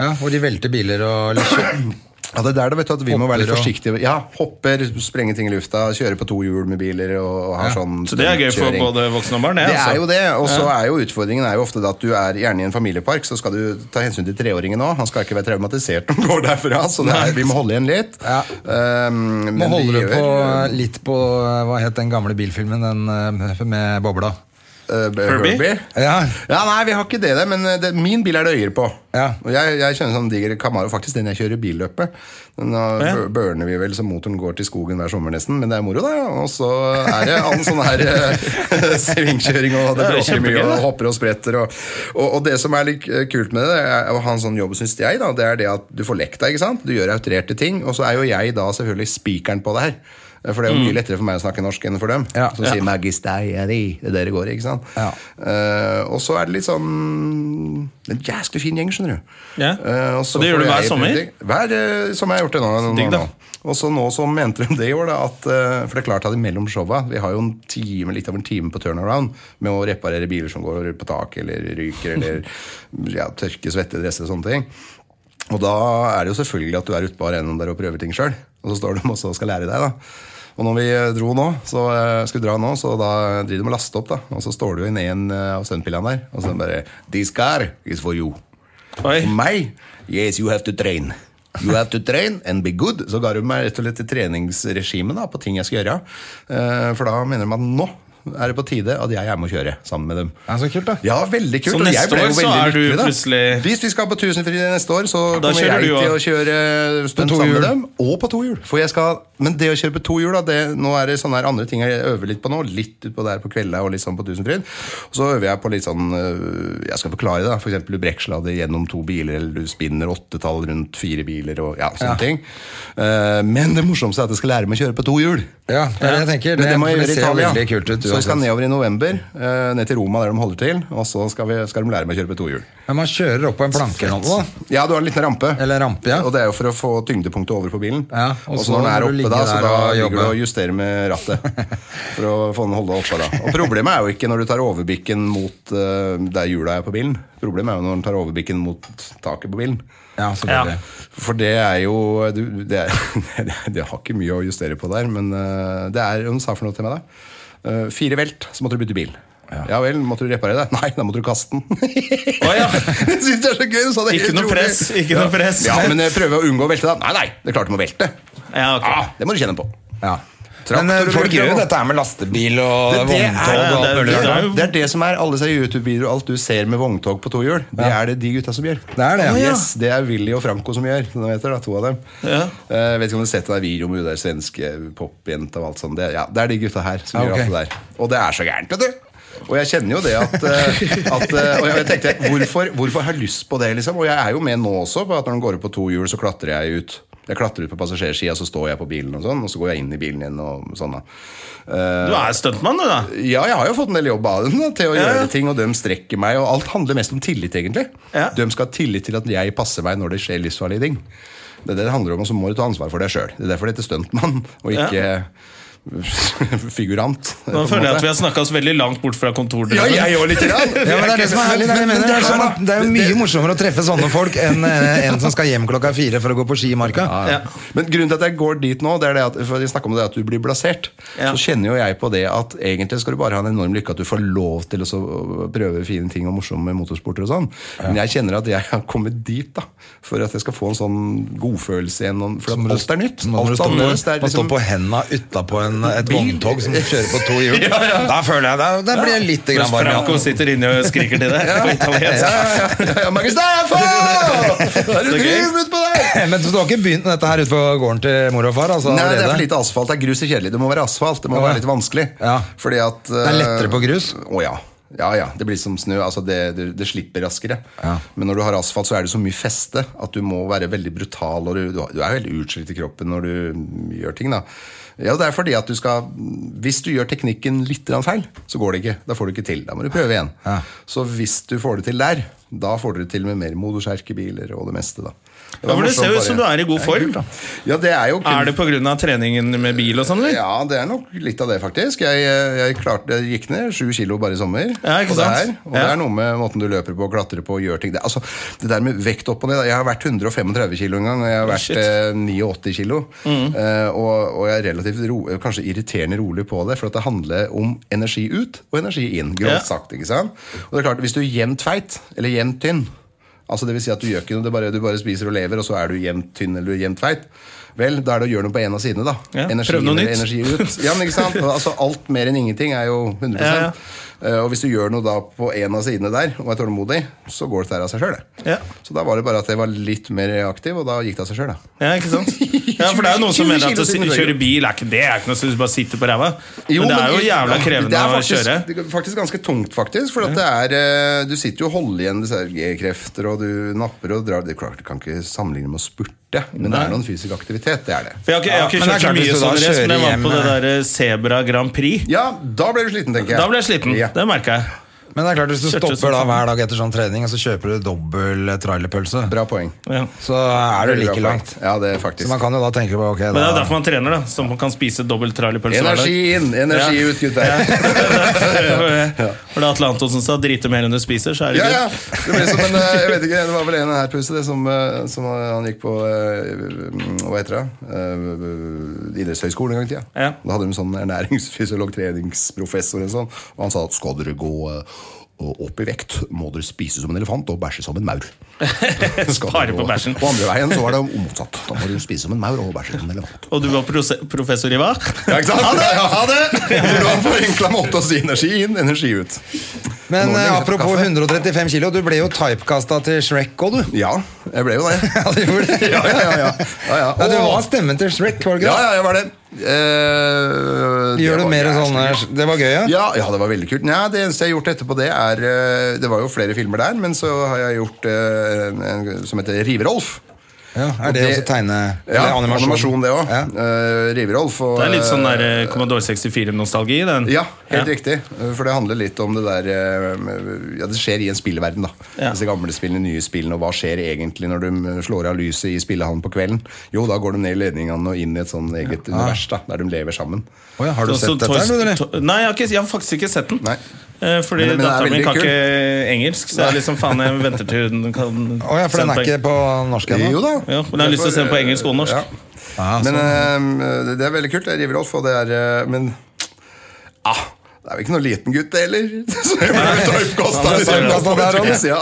B: Ja, hvor de velter biler og liksom.
C: Ja, det er der det, vet du, at vi må
B: Hopper
C: være litt
B: og-
C: forsiktige. Ja, Hopper, sprenge ting i lufta, kjøre på to hjul med biler og, og har
B: Ja.
C: sånn
A: Så det er gøy for
C: kjøring.
A: både voksne og barn.
C: Det
A: altså.
C: er jo det, og så er jo utfordringen er jo ofte det at du er gjerne i en familiepark, så skal du ta hensyn til treåringen òg. Han skal ikke være traumatisert når han går derfra, så det er, vi må holde igjen litt.
B: Ja.
C: Um, men
B: Nå
C: vi
B: holder du
C: gjør,
B: på eh, litt på eh, Hva het den gamle bilfilmen den eh, med bobla?
C: eh,
A: Herbie?
C: Herbie.
B: Ja,
C: Ja, nei, vi har ikke det, der, men eh, det, min bil er det øyer på.
B: Ja.
C: Og jeg, jeg kjenner sånn diger Camaro, faktisk, den jeg kjører billøpet. Den har-
A: Ja.
C: bør- børner vi vel så motoren går til skogen hver sommer nesten, men det er moro, da. ja. Og så er det all sånn her eh, svingkjøring, og det
A: Ja, det er
C: bråker mye,
A: kjempegøy,
C: og
A: det.
C: hopper og spretter. Og, og, og det som er litt eh, kult med det, er å ha en sånn jobb, syns jeg, da, det er det at du får lekt deg, ikke sant. Du gjør autorerte ting, og så er jo jeg da selvfølgelig spikeren på det her. For det er jo
A: Mm.
C: mye lettere for meg å snakke norsk enn for dem.
B: Ja.
C: Som sier 'magisteiri'. Det er det det går i, ikke sant?
B: Ja.
C: Eh, og så er det litt sånn Det er En jæsklig fin gjeng, skjønner du.
A: Ja.
C: Eh, og så
A: Og det
C: får
A: gjør du
C: jeg
A: hver sommer?
C: utbytting. Hver eh, sommer har jeg gjort det nå. noen
A: digg,
C: år
A: da.
C: nå. Og så nå som mente de det i år, da, at eh, For det er klart at mellom showa Vi har jo en time, litt over en time på turnaround med å reparere biler som går på taket eller ryker, eller ja, tørke svette dresser og sånne ting. Og da er det jo selvfølgelig at du er ute på arenaen der og prøver ting sjøl. Og så står du også og skal lære deg, da. Og når vi eh, dro nå, så eh, skulle dra nå, så da driver de med å laste opp, da. Og så står du inn en eh, av stuntpillene der, og så bare This car is for you.
A: Oi.
C: For meg Yes, you have to train. You have to train and be good. Så ga du meg rett og slett et treningsregime da, på ting jeg skal gjøre. Eh, For da mener de at nå er det på tide at jeg er med å kjøre sammen med dem.
B: Ja, så kult, da.
C: Ja, veldig
A: Så
C: kult. og jeg
A: neste
C: ble jo
A: år så
C: veldig
A: er du
C: lykkelig, da.
A: plutselig-
C: Hvis vi skal på Tusenfryd neste år, så
A: Da
C: kommer
A: kjører
C: jeg
A: du
C: til å
A: også.
C: kjøre stunt
B: to
C: sammen med
B: hjul.
C: dem. Og på to hjul. For jeg skal, men det å kjøre på to hjul, da, det, nå er det sånne her andre ting jeg øver litt på nå. Litt utpå der på kvelda og litt sånn på Tusenfryd. Og så øver jeg på litt sånn øh, Jeg skal forklare det. da. For eksempel du brekkslader gjennom to biler, eller du spinner åttetall rundt fire biler og ja, sånne
B: Ja.
C: ting. Eh, men det morsomste er at jeg skal lære meg å kjøre på to hjul.
B: ja det er det jeg tenker.
C: Men det må jeg
B: for
C: gjøre i
B: ser jo
C: Italia.
B: veldig kult ut
C: så vi skal nedover i november, eh, ned til Roma der de holder til. Og så skal, vi, skal de lære meg å kjøre på tohjul.
B: Men man kjører opp på en planke eller noe. da.
C: Ja, du har en liten rampe.
B: Eller rampe, ja.
C: Og det er jo for å få tyngdepunktet over på bilen.
B: Ja,
C: og så når den
B: må
C: er
B: du ligge
C: oppe da, så
B: der
C: da
B: og
C: ligger du
B: jobbe.
C: og justerer med rattet. For å få den holde oppe da. Og problemet er jo ikke når du tar overbikken mot eh, der hjula er på bilen. Problemet er jo når den tar overbikken mot taket på bilen.
B: Ja, selvfølgelig.
C: For det er jo du, det, er, det har ikke mye å justere på der, men eh, det er Hun sa for noe til meg, da. Eh, fire velt, så måtte du bytte bil. Ja. vel, måtte du reparere det? Nei, da måtte du kaste den.
A: Å, ja.
C: Jeg synes det er så gøy! hun sa det
A: Ikke
C: helt
A: noe
C: rolig.
A: press. Ikke noe press.
C: Ja, men eh, prøve å unngå å velte, da. Nei, nei, det er klart du må velte.
A: Ja, ok.
C: Ah, det må du kjenne på.
B: Ja.
C: Traktor
B: Men eh, folk
C: bruker
B: gjør jo
C: man.
B: dette her med lastebil og
C: Det- det er-
B: vogntog og alt mulig.
A: det er-
B: rart.
A: jo-
C: Det er det som er alle disse YouTube-videoer og alt du ser med vogntog på to hjul. Det er det de gutta som gjør.
B: Det er det, ja. Å, ja.
C: Yes, det er Willy og Franco som gjør. Nå heter det, to av dem.
A: Ja.
C: Eh, vet ikke om du har sett den videoen med hun der svenske popjenta og alt sånt. Det, ja, det er de gutta her som
B: Ja,
C: gjør
B: ok.
C: alt det der. Og det er så gærent, vet du. Og jeg kjenner jo det at, eh, at eh, Og jeg tenkte, hvorfor, hvorfor har jeg lyst på det, liksom? Og jeg er jo med nå også, på at når den går opp på to hjul, så klatrer jeg ut. Jeg klatrer ut på passasjersida, så står jeg på bilen, og sånn, og så går jeg inn i bilen igjen. og sånn da.
A: Du er stuntmann, du, da.
C: Ja, jeg har jo fått en del jobb av dem da, til å
A: Ja, ja.
C: gjøre ting, og de strekker meg. Og alt handler mest om tillit, egentlig.
A: Ja.
C: De skal ha tillit til at jeg passer meg når det skjer livsfarlige ting. Det er det det handler om, og så må du ta ansvar for deg sjøl. Det er derfor det heter stuntmann, og ikke eh, figurant.
A: Nå føler jeg at vi har snakka oss veldig langt bort fra
C: Ja,
A: kontordøren.
C: jeg òg, lite grann.
B: Ja, men det er det som er herlig. Det er, det jeg mener. Det er, sånn at det er jo mye morsommere å treffe sånne folk enn eh, en som skal hjem klokka fire for å gå på ski i marka.
A: Ja.
C: Men grunnen til at jeg går dit nå, det er det at for jeg snakker om det at du blir blasert.
A: Ja.
C: Så kjenner jo jeg på det at egentlig skal du bare ha en enorm lykke at du får lov til å så prøve fine ting og morsomme motorsporter og sånn. Men jeg kjenner at jeg har kommet dit, da. For at jeg skal få en sånn godfølelse igjen. og- For
B: Så må
C: at
B: du-
C: alt er nytt.
B: så må du
C: Alt
B: stå på-
C: annerledes. Det er
B: Man står
C: liksom-
B: på henda utapå en- et vogntog som kjører på to hjul.
A: Ja, ja.
B: Da føler jeg Da, da blir jeg litt grann
A: Mens
B: varm. i
A: Franco
B: hånden.
A: sitter inne og skriker til deg på italiensk.
C: Ja, ja, ja, ja, Magnus, det er faen! Det er
A: Så
C: du
A: gøy.
C: driver ut på deg!
B: Men så du har ikke begynt med dette her ute på gården til mor og far? Altså,
C: Nei, det er for
B: allerede?
C: lite asfalt. Det er grus er kjedelig. Det må være asfalt. Det må
B: Ja.
C: være litt vanskelig.
B: Ja.
C: Fordi at eh,
B: Det er lettere på grus?
C: Å ja. Ja, ja. Det blir som snø. Altså, det, det, det slipper raskere.
B: Ja.
C: Men når du har asfalt, så er det så mye feste at du må være veldig brutal. Og du, du er jo helt utslitt i kroppen når du gjør ting, da. Ja, det er fordi at du skal Hvis du gjør teknikken litt grann feil, så går det ikke. Da får du ikke til. Da må du prøve igjen.
B: Ja.
C: Så hvis du får det til der, da får dere til med mer motorskjerkebiler og det meste, da.
A: Ja, men det ser jo ut som du er i god form.
C: Ja, det er jo kun
A: Er det pga. treningen med bil og sånn, eller?
C: ja, det er nok litt av det, faktisk. Jeg, jeg, klarte, jeg gikk ned sju kilo bare i sommer.
A: Ja, ikke
C: og det,
A: sant?
C: er, og det
A: Ja.
C: er noe med måten du løper på, klatrer på, gjør ting det, altså, det der med vekt opp og ned Jeg har vært 135 kilo en gang, og jeg har vært
A: Oh, shit. Mm.
C: eh, 89 kilo. Eh, og, og jeg er relativt ro, kanskje irriterende rolig på det, for at det handler om energi ut og energi inn.
A: Ja.
C: Grovt sagt. ikke sant? Og det er klart, Hvis du er jevnt feit, eller jevnt tynn Altså det vil si at Du gjør ikke noe, det er bare, du bare spiser og lever, og så er du jevnt tynn eller du er jevnt feit. Vel, da er det å gjøre noe på en av sidene, da.
A: Ja,
C: Energi
A: prøv noe
C: inn
A: nytt.
C: eller energi ut. Ja, men ikke sant? Altså, alt mer enn ingenting er jo 100
A: Ja, ja.
C: Eh, Og hvis du gjør noe da på en av sidene der, og er tålmodig, så går det der av seg sjøl.
A: Ja.
C: Så da var det bare at jeg var litt mer aktiv, og da gikk det av seg sjøl.
A: Ja, ikke sant? Ja, for det er jo noen som
C: 20
A: mener at å
C: kilo
A: si-
C: siden
A: kjøre
C: Norge.
A: bil er ikke det. er ikke noe som du bare sitter på ræva. Men det er jo jævla krevende å kjøre.
C: Det er faktisk ganske tungt, faktisk. For at det er, eh, du sitter jo og holder igjen disse her G-krefter, og du napper og drar. Det er klart, Du kan ikke sammenligne med å spurte, men det er noen fysisk aktivitet. det er det.
A: For jeg har ikke, jeg
B: Ja,
A: har ikke
B: men det er
A: kjørt så
B: klart hvis du
A: mye
B: da
A: sånn rest, men jeg
B: kjører
A: var på det
B: hjem,
A: der eh, Zebra Grand Prix.
C: Ja, da ble du sliten, tenker jeg.
A: Da ble jeg sliten.
C: Ja.
A: Det merka jeg.
B: Men det er klart, hvis du
A: Kjørte
B: stopper
A: som
B: da
A: faen.
B: hver dag etter sånn trening, og så kjøper du dobbel trailerpølse,
C: Bra poeng.
A: Ja.
B: så er du
C: Veldig
B: like
C: bra poeng.
B: langt.
C: Ja, det er faktisk.
B: Så man kan jo da tenke på ok,
A: Men det er jo
B: da
A: derfor man trener, da. Så man kan spise dobbelt trallypølse hver dag.
C: Energi inn, energi
A: Ja.
C: ut, gutter.
A: Var det Atle Antonsen sa 'drite mer enn du spiser', så er det
C: Ja, ja.
A: good.
C: Det ble som en, eh, jeg vet ikke, det var vel en her puse det, som, eh, som eh, han gikk på eh, Hva heter det? Eh, Idrettshøgskolen en gang i tida.
A: Ja.
C: Da hadde de en sånn ernæringsfysiolog, treningsprofessor og sånn. Og han sa at skal dere gå eh, opp i vekt, må dere spise som en elefant og bæsje som en maur. Skal
A: Spare
C: dere
A: på
C: gå-
A: bæsjen.
C: Og andre veien så var det motsatt. Da må du spise som en maur og bæsje som en elefant.
A: Og du var prose- professor i hva?
C: Ja, ikke sant? Ha det! Ha det! Hvordan forenkla måte å si energi inn, energi ut.
B: Men eh,
C: Nå legger jeg på
B: apropos
C: kaffe.
B: 135 kilo, du ble jo typekasta til Shrek òg, du.
C: Ja, jeg ble jo det.
B: Ja, du gjorde det.
C: Ja, ja, ja, ja. ja, ja.
B: Ja, du
C: Åh.
B: var stemmen til Shrek, var det ikke
C: Ja,
B: det?
C: ja, jeg var det. Eh, det
B: Gjør
C: var
B: du mer sånn
C: jævlig
B: sånne
C: gøy.
B: Det var gøy, ja?
C: Ja, ja, det var veldig kult. Nei, det eneste jeg har gjort etterpå, det er eh, Det var jo flere filmer der, men så har jeg gjort eh, en, en som heter Riverolf.
B: Ja, er det, også tegne...
C: Ja,
B: eller
C: animasjon, det òg.
B: Ja.
C: Riverolf. og-
A: Det er litt sånn der eh, Commodore 64-nostalgi i den.
C: Ja, helt
A: Ja.
C: riktig. For det handler litt om det der eh, Ja, det skjer i en spillverden, da.
A: Ja.
C: Disse gamle spillene, nye spillene, og hva skjer egentlig når du eh, slår av lyset i spillehallen på kvelden? Jo, da går de ned i ledningene og inn i et sånn eget univers, da, der de lever sammen.
B: Å ja, har du
A: Så-
B: sett
A: så
B: dette?
A: Toy-
B: her, eller?
A: To- Nei, jeg har, ikke, jeg har faktisk ikke sett den.
C: Nei.
A: Eh, Fordi
C: Men- men den er
A: datteren min
C: veldig
A: kan
C: kul.
A: ikke engelsk, så jeg er liksom faen, jeg venter til den kan
B: Å ja, for den er ikke på norsk ennå?
C: Jo da.
A: Ja, men jeg har lyst til å se den på engelsk og norsk.
B: Ah, sånn.
C: Men eh, det- det er veldig kult. Jeg river Rolf, og det er eh, Men ah, det er vel ikke noen liten gutt, det heller? Så jeg ble litt
A: Ja,
C: oppkast da,
A: det er
C: liksom,
B: oppkast da,
C: på
B: det er
C: et vis, ja.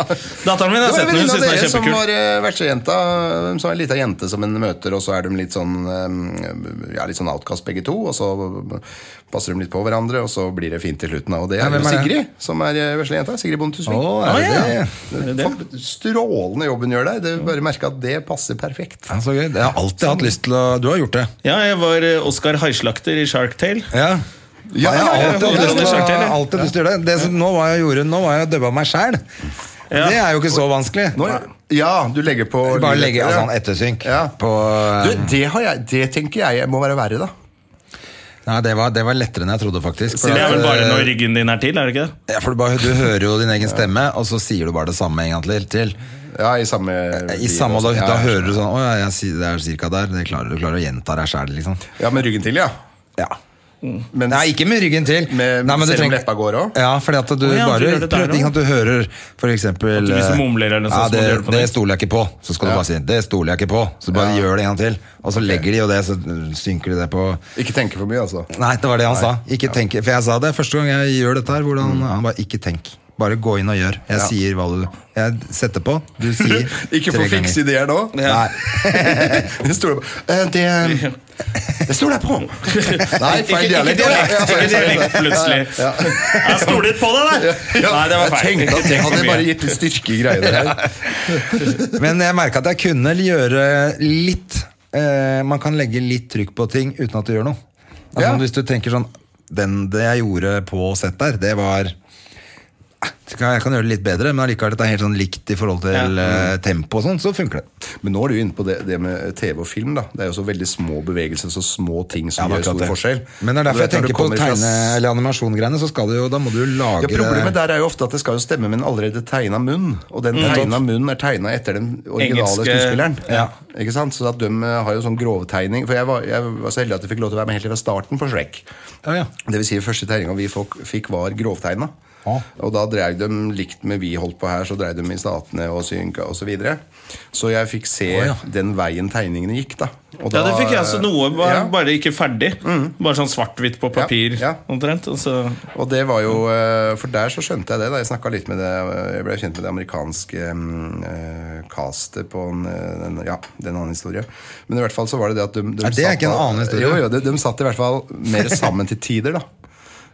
A: Datteren min har
C: Det var
A: sett
C: en
A: den, hun syns
C: venninne av
A: den er
C: dere som
A: kjempekul.
C: var eh, vertsjenta. eh, Som er ei lita jente som en møter, og så er de litt sånn eh, Ja, litt sånn outcast begge to. Og så eh, passer de litt på hverandre, og så blir det fint til slutten. da. Og det
B: Ja,
C: er
B: hvem
C: jo
B: er det?
C: Sigrid, som er eh, veslejenta. Sigrid Bonde Tusvik.
B: Å, er det
A: Ah, ja.
B: det?
A: Er det det?
C: Fa- Strålende jobben gjør der. Det bare merke at det passer perfekt.
B: Ja, så gøy. Jeg har alltid hatt lyst til å Du har gjort det.
A: Ja, jeg var eh, Oscar Haislakter i Shark Tale.
B: Ja.
C: Ja,
B: jeg har alltid hatt
A: ja,
B: lyst
A: det
B: til
A: skjønte jeg,
B: å-
A: eller?
B: alltid lyst til å gjøre det. det som, nå var jeg gjorde, nå var jeg dubba meg sjæl.
A: Ja.
B: Det er jo ikke så vanskelig.
C: Nå, ja, du legger på
B: Bare legge
C: ja.
B: altså, en ettersynk
C: Ja.
B: på eh,
C: Du, det, har jeg, det tenker jeg må være verre, da.
B: Nei, det var, det var lettere enn jeg trodde, faktisk.
A: Det er vel
B: at,
A: bare
B: eh,
A: når ryggen din er til, er det ikke det?
B: ja, for du, bare, du hører jo din egen stemme, og så sier du bare det samme en gang til. til.
C: Ja, I samme
B: I samme, da, da hører du sånn Å ja, jeg, sier- det er cirka der. Det klarer, du klarer å gjenta deg sjæl, liksom.
C: Ja, med ryggen til, ja.
B: Ja.
C: Men
B: Nei, ikke med ryggen til.
C: Med-
B: Nei, men du
C: selv om
B: trenger-
C: leppa går også?
B: Ja, fordi at du
A: Å, ja, du
B: bare
A: gjør det der
B: prøver ting
A: også?
B: at du hører for eksempel
A: du hvis du
B: eh,
A: mumler eller noe
B: ja,
A: sånt, så må
B: det,
A: du gjøre det på
B: det
A: nytt.
B: stoler jeg ikke på. Så skal du bare si 'det stoler jeg ikke på', så bare
C: Ja.
B: gjør det en gang til. Og så legger de jo det, så synker de det på
C: ikke tenke for mye, altså.
B: Nei, det var det han sa. Ikke tenk. For jeg sa det første gang jeg gjør dette her. Hvordan, Han bare 'ikke tenk'. Bare gå inn og gjør. Jeg
C: Mm. Ja.
B: sier hva du Jeg setter på, du sier
C: Ikke få
B: tre ganger.
C: fikse ideer nå.
B: Nei.
C: Det stoler jeg på. Eh, Det, det stoler jeg på. Nei, feil
A: Ikke
C: dialekt.
A: dialekt, ikke
C: Ja, feil, feil.
A: dialekt plutselig. Jeg stoler på deg, der!
C: Ja,
A: Nei, det var feil.
C: Jeg tenkte at det hadde bare gitt litt styrke i greiene her.
B: Men jeg merka at jeg kunne gjøre litt eh, Man kan legge litt trykk på ting uten at du gjør noe. Altså,
C: Ja.
B: Hvis du tenker sånn den, Det jeg gjorde på sett der, det var eh, jeg kan jeg kan gjøre det litt bedre, men allikevel dette er helt sånn likt i forhold til
A: Ja.
B: eh, tempo og sånn, så funker det.
C: Men nå er du jo inne på det, det med TV og film. da Det er jo så veldig små bevegelser så små ting som
B: Ja,
C: gjør stor
B: akkurat det.
C: forskjell.
B: Men det er
C: Og
B: derfor jeg
C: vet når du
B: tenker på
C: kommer fra
B: tegne-
C: s-
B: eller animasjongreiene, så skal du jo, da må du jo lage
C: ja, Problemet
B: det
C: der er jo ofte at det skal jo stemme med en allerede tegna munn. Og den tegna munnen er tegna etter den originale
A: Engelske-
C: skuespilleren.
B: Ja.
C: Ikke sant? Så at de eh, har jo sånn grovtegning. For jeg var, jeg var så heldig at jeg fikk lov til å være med helt fra starten på Shrek.
B: Ja, ja.
C: Det vil si første tegninga vi folk fikk, var grovtegna.
B: Ja.
C: Og da drev de likt med vi holdt på her, så drev de i Statene og Synka osv. Så, videre. så jeg fikk se
B: Å, ja.
C: den veien tegningene gikk, da. Og
A: Ja,
C: da, eh,
A: det fikk jeg altså noe, bare,
C: ja. Mm.
A: bare ikke ferdig. Bare sånn svart-hvitt på papir,
C: ja.
A: omtrent. Og så
C: Og det var jo, eh, For der så skjønte jeg det. da Jeg snakket litt med det eh, Jeg ble kjent med det amerikanske mm, eh, castet på en, eh, den, Ja, det er en annen historie. Men i hvert fall så var det det at de, de
B: Nei, det er
C: satt
B: ikke en
C: da-
B: annen historie.
C: Jo, jo, de, de satt i hvert fall mer sammen til tider, da.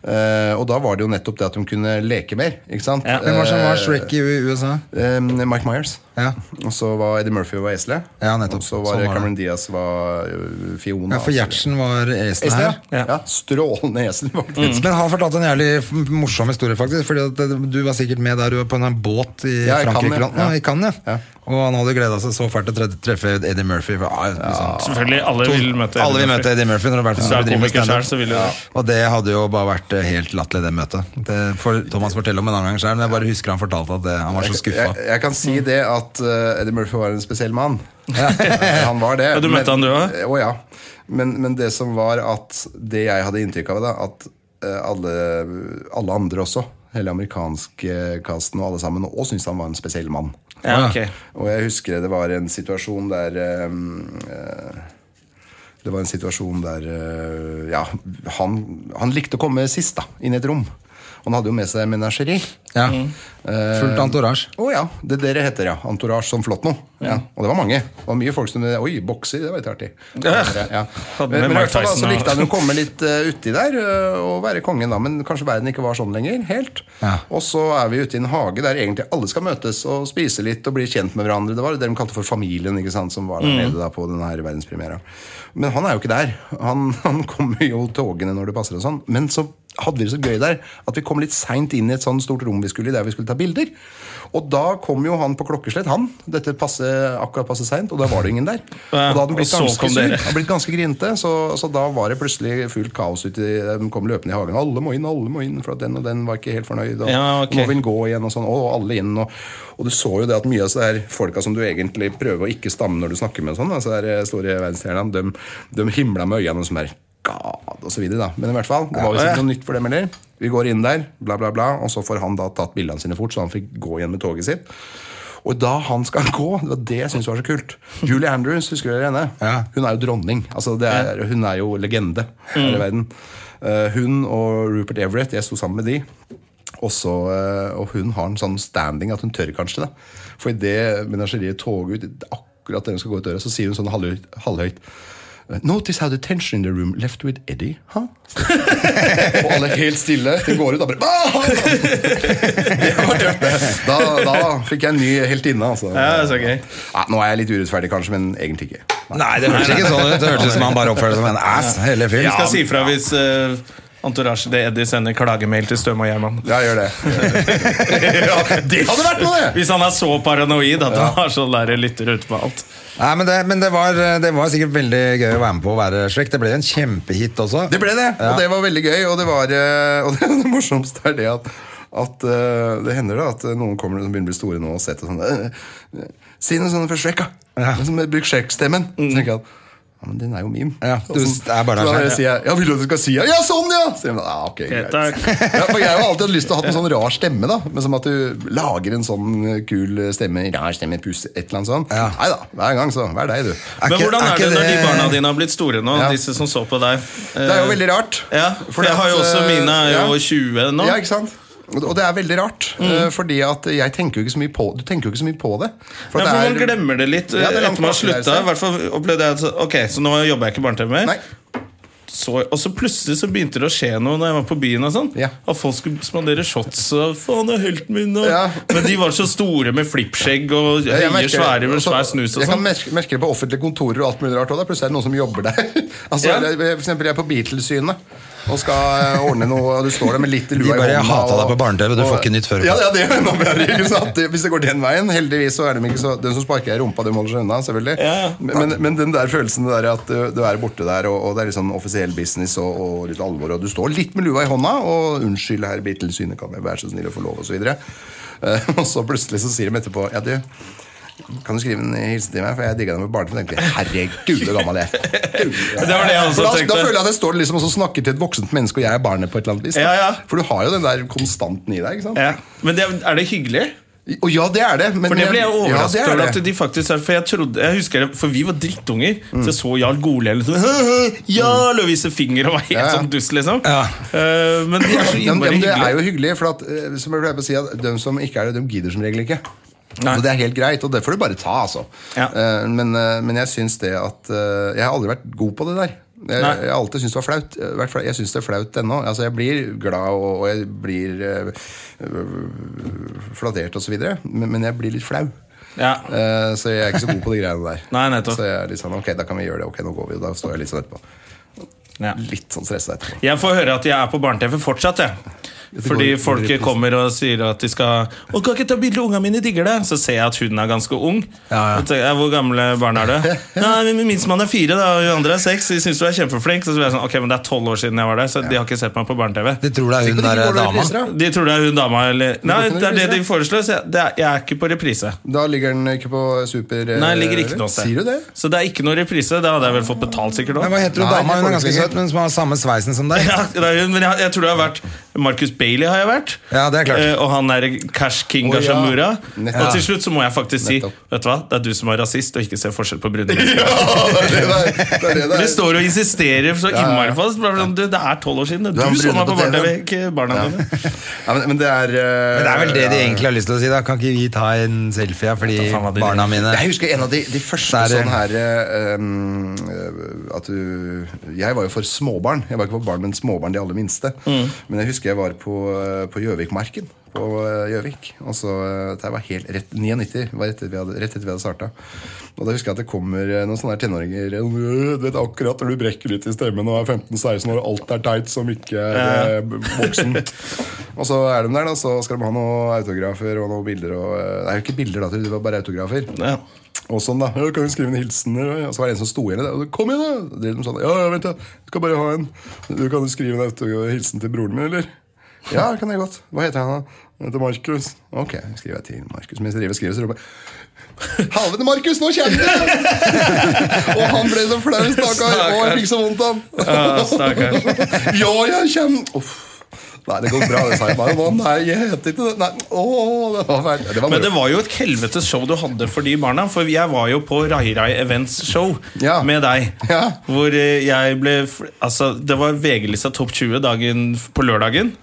C: Eh, og da var det jo nettopp det at de kunne leke mer. Ikke sant?
A: Ja,
B: Hvem var det som var
C: Eh,
B: Shrek i U- USA?
C: eh, Mike Myers.
B: Ja.
C: Og så var Eddie Murphy var Esle.
B: Ja, nettopp.
C: Og så var
B: Sånn
C: det
B: var
C: Cameron Diaz var eh, Fiona.
B: Ja, for Gjertsen var eselet
C: Esle,
B: her.
C: ja.
A: Ja.
C: ja. Strålende esel, faktisk.
B: Men han fortalte en jævlig f- morsom historie, faktisk. Fordi at eh, Du var sikkert med der du var på en sånn båt i
C: Ja, i
B: Frankrike.
C: Cannes, ja.
B: ja. Ja, i Cannes, ja.
C: Ja.
B: Og han hadde gleda seg så fælt til å tre- treffe Eddie Murphy. For, ah, liksom.
A: selvfølgelig, alle vil møte
B: Alle vil møte Eddie Murphy. Når det
A: Så er komiker selv, så vil du det.
B: Og det hadde jo bare vært eh, helt latterlig, det møtet. Det får Thomas fortelle om en annen gang selv, men jeg bare husker han fortalte at det, han var så skuffa.
C: Jeg, jeg kan si det at eh, Eddie Murphy var en spesiell mann. han var det. Eh,
A: Ja, du møtte han du også?
C: Å ja. Men, men det som var at det jeg hadde inntrykk av, da, at eh, alle, alle andre også, hele amerikanske casten og alle sammen, òg syntes han var en spesiell mann.
A: Ja, ok.
C: Og jeg husker det var en situasjon der eh, eh, Det var en situasjon der eh, Ja, han, han likte å komme sist, da. Inn i et rom. Han hadde jo med seg Eh, menasjeri.
B: Ja. Fullt entourage.
C: Å ja. Det dere heter, ja. Entourage som flott nå. Ja.
A: Mm.
C: Og det var mange. Det var mye folk som Oi, bokser, det var litt artig. Ja.
A: Hadde med
C: Men, men i
A: Mike
C: hvert fall da,
A: Tyson
C: så
A: og-
C: likte han å komme litt eh, uti der eh, og være kongen, da. Men kanskje verden ikke var sånn lenger, helt.
B: Ja.
C: Og så er vi ute i en hage der egentlig alle skal møtes og spise litt og bli kjent med hverandre. Det var det de kalte for familien, ikke sant, som
A: Mm.
C: var der nede da på denne her verdenspremiera. Men han er jo ikke der. Han, han kommer jo togende når det passer og sånn. Men så hadde vi det så gøy der at vi kom litt seint inn i et sånn stort rom vi skulle i, der vi skulle ta bilder. Og da kom jo han på klokkeslett, han. Dette passe, akkurat passe seint, og da var det ingen der. Og da hadde han blitt
A: Og så
C: ganske
A: kom
C: sur.
A: dere.
C: Han hadde blitt ganske grinete, så, så da var det plutselig fullt kaos ute. i- De kom løpende i hagen. Alle må inn, alle må inn, for at den og den var ikke helt fornøyd. Og
A: Ja, ok.
C: må vi gå igjen, og sånn. Og alle inn. Og, og du så jo det at mye av disse her folka som du egentlig prøver å ikke stamme når du snakker med, og sånn, altså de store verdensstjernene, de, de himla med øynene som er God, og så videre, da. Men i hvert fall, det var visst ikke noe nytt for dem heller. Vi går inn der, bla, bla, bla, og så får han da tatt bildene sine fort, så han fikk gå igjen med toget sitt. Og da han skal gå, det var det jeg syntes var så kult. Julie Andrews, husker dere henne?
B: Ja.
C: Hun er jo dronning. Altså, det er, hun er jo legende her i verden. Eh, hun og Rupert Everett, jeg sto sammen med de. Også, eh, og hun har en sånn standing at hun tør kanskje det. For idet menasjeriet toger ut akkurat det hun skal gå ut døra, så sier hun sånn halvhøyt, halvhøyt Notice how the tension in the room left with Eddie, huh? og alle er helt stille. De går ut og bare «Ah!» Det var tøft, det. da, da fikk jeg en ny heltinne, altså.
A: Ja, det er så gøy.
C: Ja, nå er jeg litt urettferdig, kanskje, men egentlig ikke.
B: Nei, det hørtes ikke sånn ut. Det hørtes ut som han bare oppførte seg som en ass hele
A: Vi
B: filmen.
A: skal si fra hvis uh, Entourage det Eddie sender klagemail til Støme og Gjerman.
C: Ja, gjør det. det hadde vært noe, det!
A: Hvis han er så paranoid at han har sånn der lytter ute på alt.
B: Nei, men det, men det, var, det var sikkert veldig gøy å være med på å være Shrek. Det ble jo en kjempehit også.
C: Det ble det,
B: Ja.
C: og det var veldig gøy. Og det, var, eh, og det, det morsomste er det at, at eh, det hender da at noen kommer som begynner å bli store nå og setter sånn eh, Si noe sånt for Shrek, da!
B: Ja. Mm.
C: Som Bruk Shrek-stemmen. Så tenker jeg at ja, men den er jo min.
B: Ja,
C: Og
B: du
C: sånn-
B: er bare der
C: så da
B: selv, ja.
C: sier jeg, ja, vil du at du skal si ja? Ja, sånn, ja! Så sier de, ja, ok, greit.
A: takk.
C: Ja, for jeg har jo alltid hatt lyst til å ha en sånn rar stemme, da. Men som at du lager en sånn kul stemme, rar stemme, puss, et eller annet sånt.
B: Ja.
C: Nei da, hver gang, så. Hver dag, du.
B: Er
A: Men
B: ikke-
A: hvordan
B: er
A: er det
B: ikke
A: når de
B: det-
A: barna dine har blitt store nå?
C: Ja.
A: Disse som så på deg. Eh,
C: Det er jo veldig rart.
A: Ja, for
C: Fordi
A: jeg har jo
C: at,
A: også
C: eh,
A: mine er jo
C: ja.
A: 20 nå. Mm.
C: Ja, ikke sant? Og og det er veldig rart, eh, fordi at jeg tenker jo ikke så mye på, du tenker jo ikke så mye på det.
A: Ja,
C: at
A: for Man
C: det er-
A: glemmer det litt
C: Ja, det er
A: eh,
C: langt
A: etter man har
C: bak der,
A: slutta. I hvert fall opplevde jeg at Ok, så nå jobber jeg ikke i barne-TV mer.
C: Nei,
A: Så, og så plutselig så begynte det å skje noe når jeg var på byen. og sånn
C: Ja.
A: At folk skulle spandere shots. Og, faen, det er helten min og...
C: Ja.
A: Men de var så store med flippskjegg og høye,
C: jeg merker det.
A: svære med
C: Og så-
A: svær snus. og
C: Jeg kan
A: sånn
C: merke, merke det på offentlige kontorer og alt mulig rart også, da. Plutselig er det noen som jobber der. altså,
A: Ja.
C: jeg- For eksempel jeg er på Beatles-synet og skal eh, ordne noe, og du står der med litt lua
B: De bare,
C: i
B: «Jeg hatet deg på barne-TV, du
C: og-
B: får ikke nytt før».
C: Ja, ja, det er enda bedre, ikke sant? Det- Hvis det går den veien. Heldigvis så er de ikke så Den som sparker i rumpa, dem holder seg unna, selvfølgelig.
A: Ja, ja.
C: Men, men den der følelsen der at du, du er borte der, og, og det er litt sånn offisiell business og, og litt alvor, og du står litt med lua i hånda, og 'unnskyld, herr Beatles-synet, kan jeg være så snill å få lov', og så videre. Eh, Og så plutselig så sier de etterpå 'ja, du' Kan du skrive en hilsen til meg? For jeg digga den med barne. Men tenkte jeg, herregud, så gammel jeg er.
A: Det var det jeg også
C: da,
A: tenkte.
C: da føler jeg at jeg står liksom og så snakker til et voksent menneske, og jeg er barnet på et eller annet vis. da.
A: Ja, ja.
C: For du har jo den der konstanten i deg. ikke sant?
A: ja. Men det, er det hyggelig?
C: Og ja, det er det. Men
A: For det ble jeg
C: ja,
A: overrasket
C: det er
A: over.
C: det.
A: at de faktisk er- For jeg trodde, jeg husker det, for vi var drittunger, så jeg så Jarl Goliel og sånn «Hø, hø, Jarl! Og vise finger og var helt
C: Ja, ja.
A: sånn dust, liksom.
B: Ja.
A: Eh, men de er så
C: Ja,
A: innmari
C: men, men det
A: hyggelige.
C: er jo hyggelig, for at, eh, som jeg pleier å si, at de som ikke er det, de gidder som regel ikke.
A: Nei.
C: Og det er helt greit, og det får du bare ta, altså.
A: Ja.
C: Eh, Men, eh, men jeg syns det at eh, Jeg har aldri vært god på det der. Jeg,
A: Nei.
C: jeg har alltid syntes det var flaut. Eh, vært flau- Jeg syns det er flaut ennå. Altså, jeg blir glad, og, og jeg blir eh, øh, flattert osv., men, men jeg blir litt flau.
A: Ja.
C: Eh, Så jeg er ikke så god på de greiene der.
A: Nei, nettopp.
C: Så jeg er litt sånn Ok, da kan vi gjøre det. Ok, nå går vi. Og da står jeg litt sånn etterpå.
A: Ja.
C: Litt sånn stressa etterpå.
A: Jeg får høre at jeg er på barne-TV fortsatt, jeg. Fordi
C: går-
A: folk
C: går i pris.
A: kommer og sier at de skal Å, kan ikke ta bilde, ungene mine digger det. Så ser jeg at hun er ganske ung.
B: Ja, ja.
A: Så tenker jeg, Hvor gamle barn er du? Nei, men Minst man er fire, da, og hun andre er seks. De syns du er kjempeflink. Så blir jeg sånn, ok, men det er tolv år siden jeg var der, så de har ikke sett meg på barne-TV.
B: De tror det er hun
C: Tenk om
B: der eh,
C: de går og
B: dama.
C: reiser, da.
A: De tror det er hun dama eller Nei, det
C: ikke
A: er det de
C: reprise.
A: foreslår. Så jeg, det er, jeg er ikke på reprise.
C: Da ligger den ikke på super... eh,
A: Nei, jeg ligger ikke noe sted.
C: Sier du det?
A: Så det er ikke noe reprise. Det hadde jeg vel fått betalt, sikkert
B: Men
A: òg.
B: Hva heter hun
C: Nei,
B: dama?
C: det
B: Hun er
C: får du
B: ganske
C: ikke
B: søt, men som har samme sveisen som deg.
A: Ja, det er hun, men jeg, jeg tror jeg har vært Marcus Bailey har jeg vært.
B: Ja, det er klart.
A: Eh, og han er Cash King
C: Å, ja.
A: Gashamura.
C: Nettopp.
A: Og til slutt så må jeg faktisk si
C: Nettopp.
A: Vet du hva, det er du som er rasist og ikke ser forskjell på brune mennesker.
C: det er det det er. Det er det det
A: Du
C: er.
A: står og insisterer så innmari fast. Bare sånn, du, Det er tolv år siden. Du,
C: er en
A: så meg på
C: brune på TV.
A: barne-TV, ikke barna dine.
C: Ja, men, men det er
B: Men
C: eh,
B: det er vel det de
C: ja.
B: egentlig har lyst til å si. da Kan ikke vi ta en selfie her, fordi
A: faen hva de-
B: barna mine
C: Jeg husker en av de, de første
B: Der,
C: sånn her eh, um, eh, At du Jeg var jo for småbarn. Jeg var ikke for barn, men småbarn de aller minste. Men jeg husker jeg var på eh, på Gjøvikmarken. på eh, Gjøvik. Og så, eh, Dette var helt rett, 99, var rett etter vi hadde, rett etter vi hadde starta. Og da husker jeg at det kommer eh, noen sånne her tenåringer «Øh, Du vet akkurat når du brekker litt i stemmen og er 15-16 år, og alt er teit som ikke er eh, voksen. og så er de der, da, så skal de ha noen autografer og noen bilder og eh, Det er jo ikke bilder, da, tror jeg, det var bare autografer.
A: Ja.
C: Og sånn da, ja, kan du skrive en hilsen eller? Og så var det en som sto igjen i det Og så, kom igjen da Og drev de sånn, Ja, ja, vent da Jeg skal bare ha en Du kan jo skrive en auto- hilsen til broren min, eller? Ja, det kan jeg godt Hva heter han da? Han heter Markus Ok, skriver jeg til Markus Mens jeg driver og skriver så roper jeg Halvete Markus, nå kommer det Og han ble så flau, stakkar Og jeg fikk så vondt av han
A: Ja, stakkar.
C: ja, jeg kommer Uff. Nei, det går bra, det sa jeg bare «Å, Nei, jeg heter ikke det Nei, åh, det var fælt Det var
A: Men det
C: moro
A: var jo et helvetes show du hadde for de barna. For jeg var jo på Rai Rai Events show
C: Ja.
A: med deg.
C: Ja.
A: Hvor eh, jeg ble fl- Altså, det var VG-lista Topp 20 dagen, på lørdagen.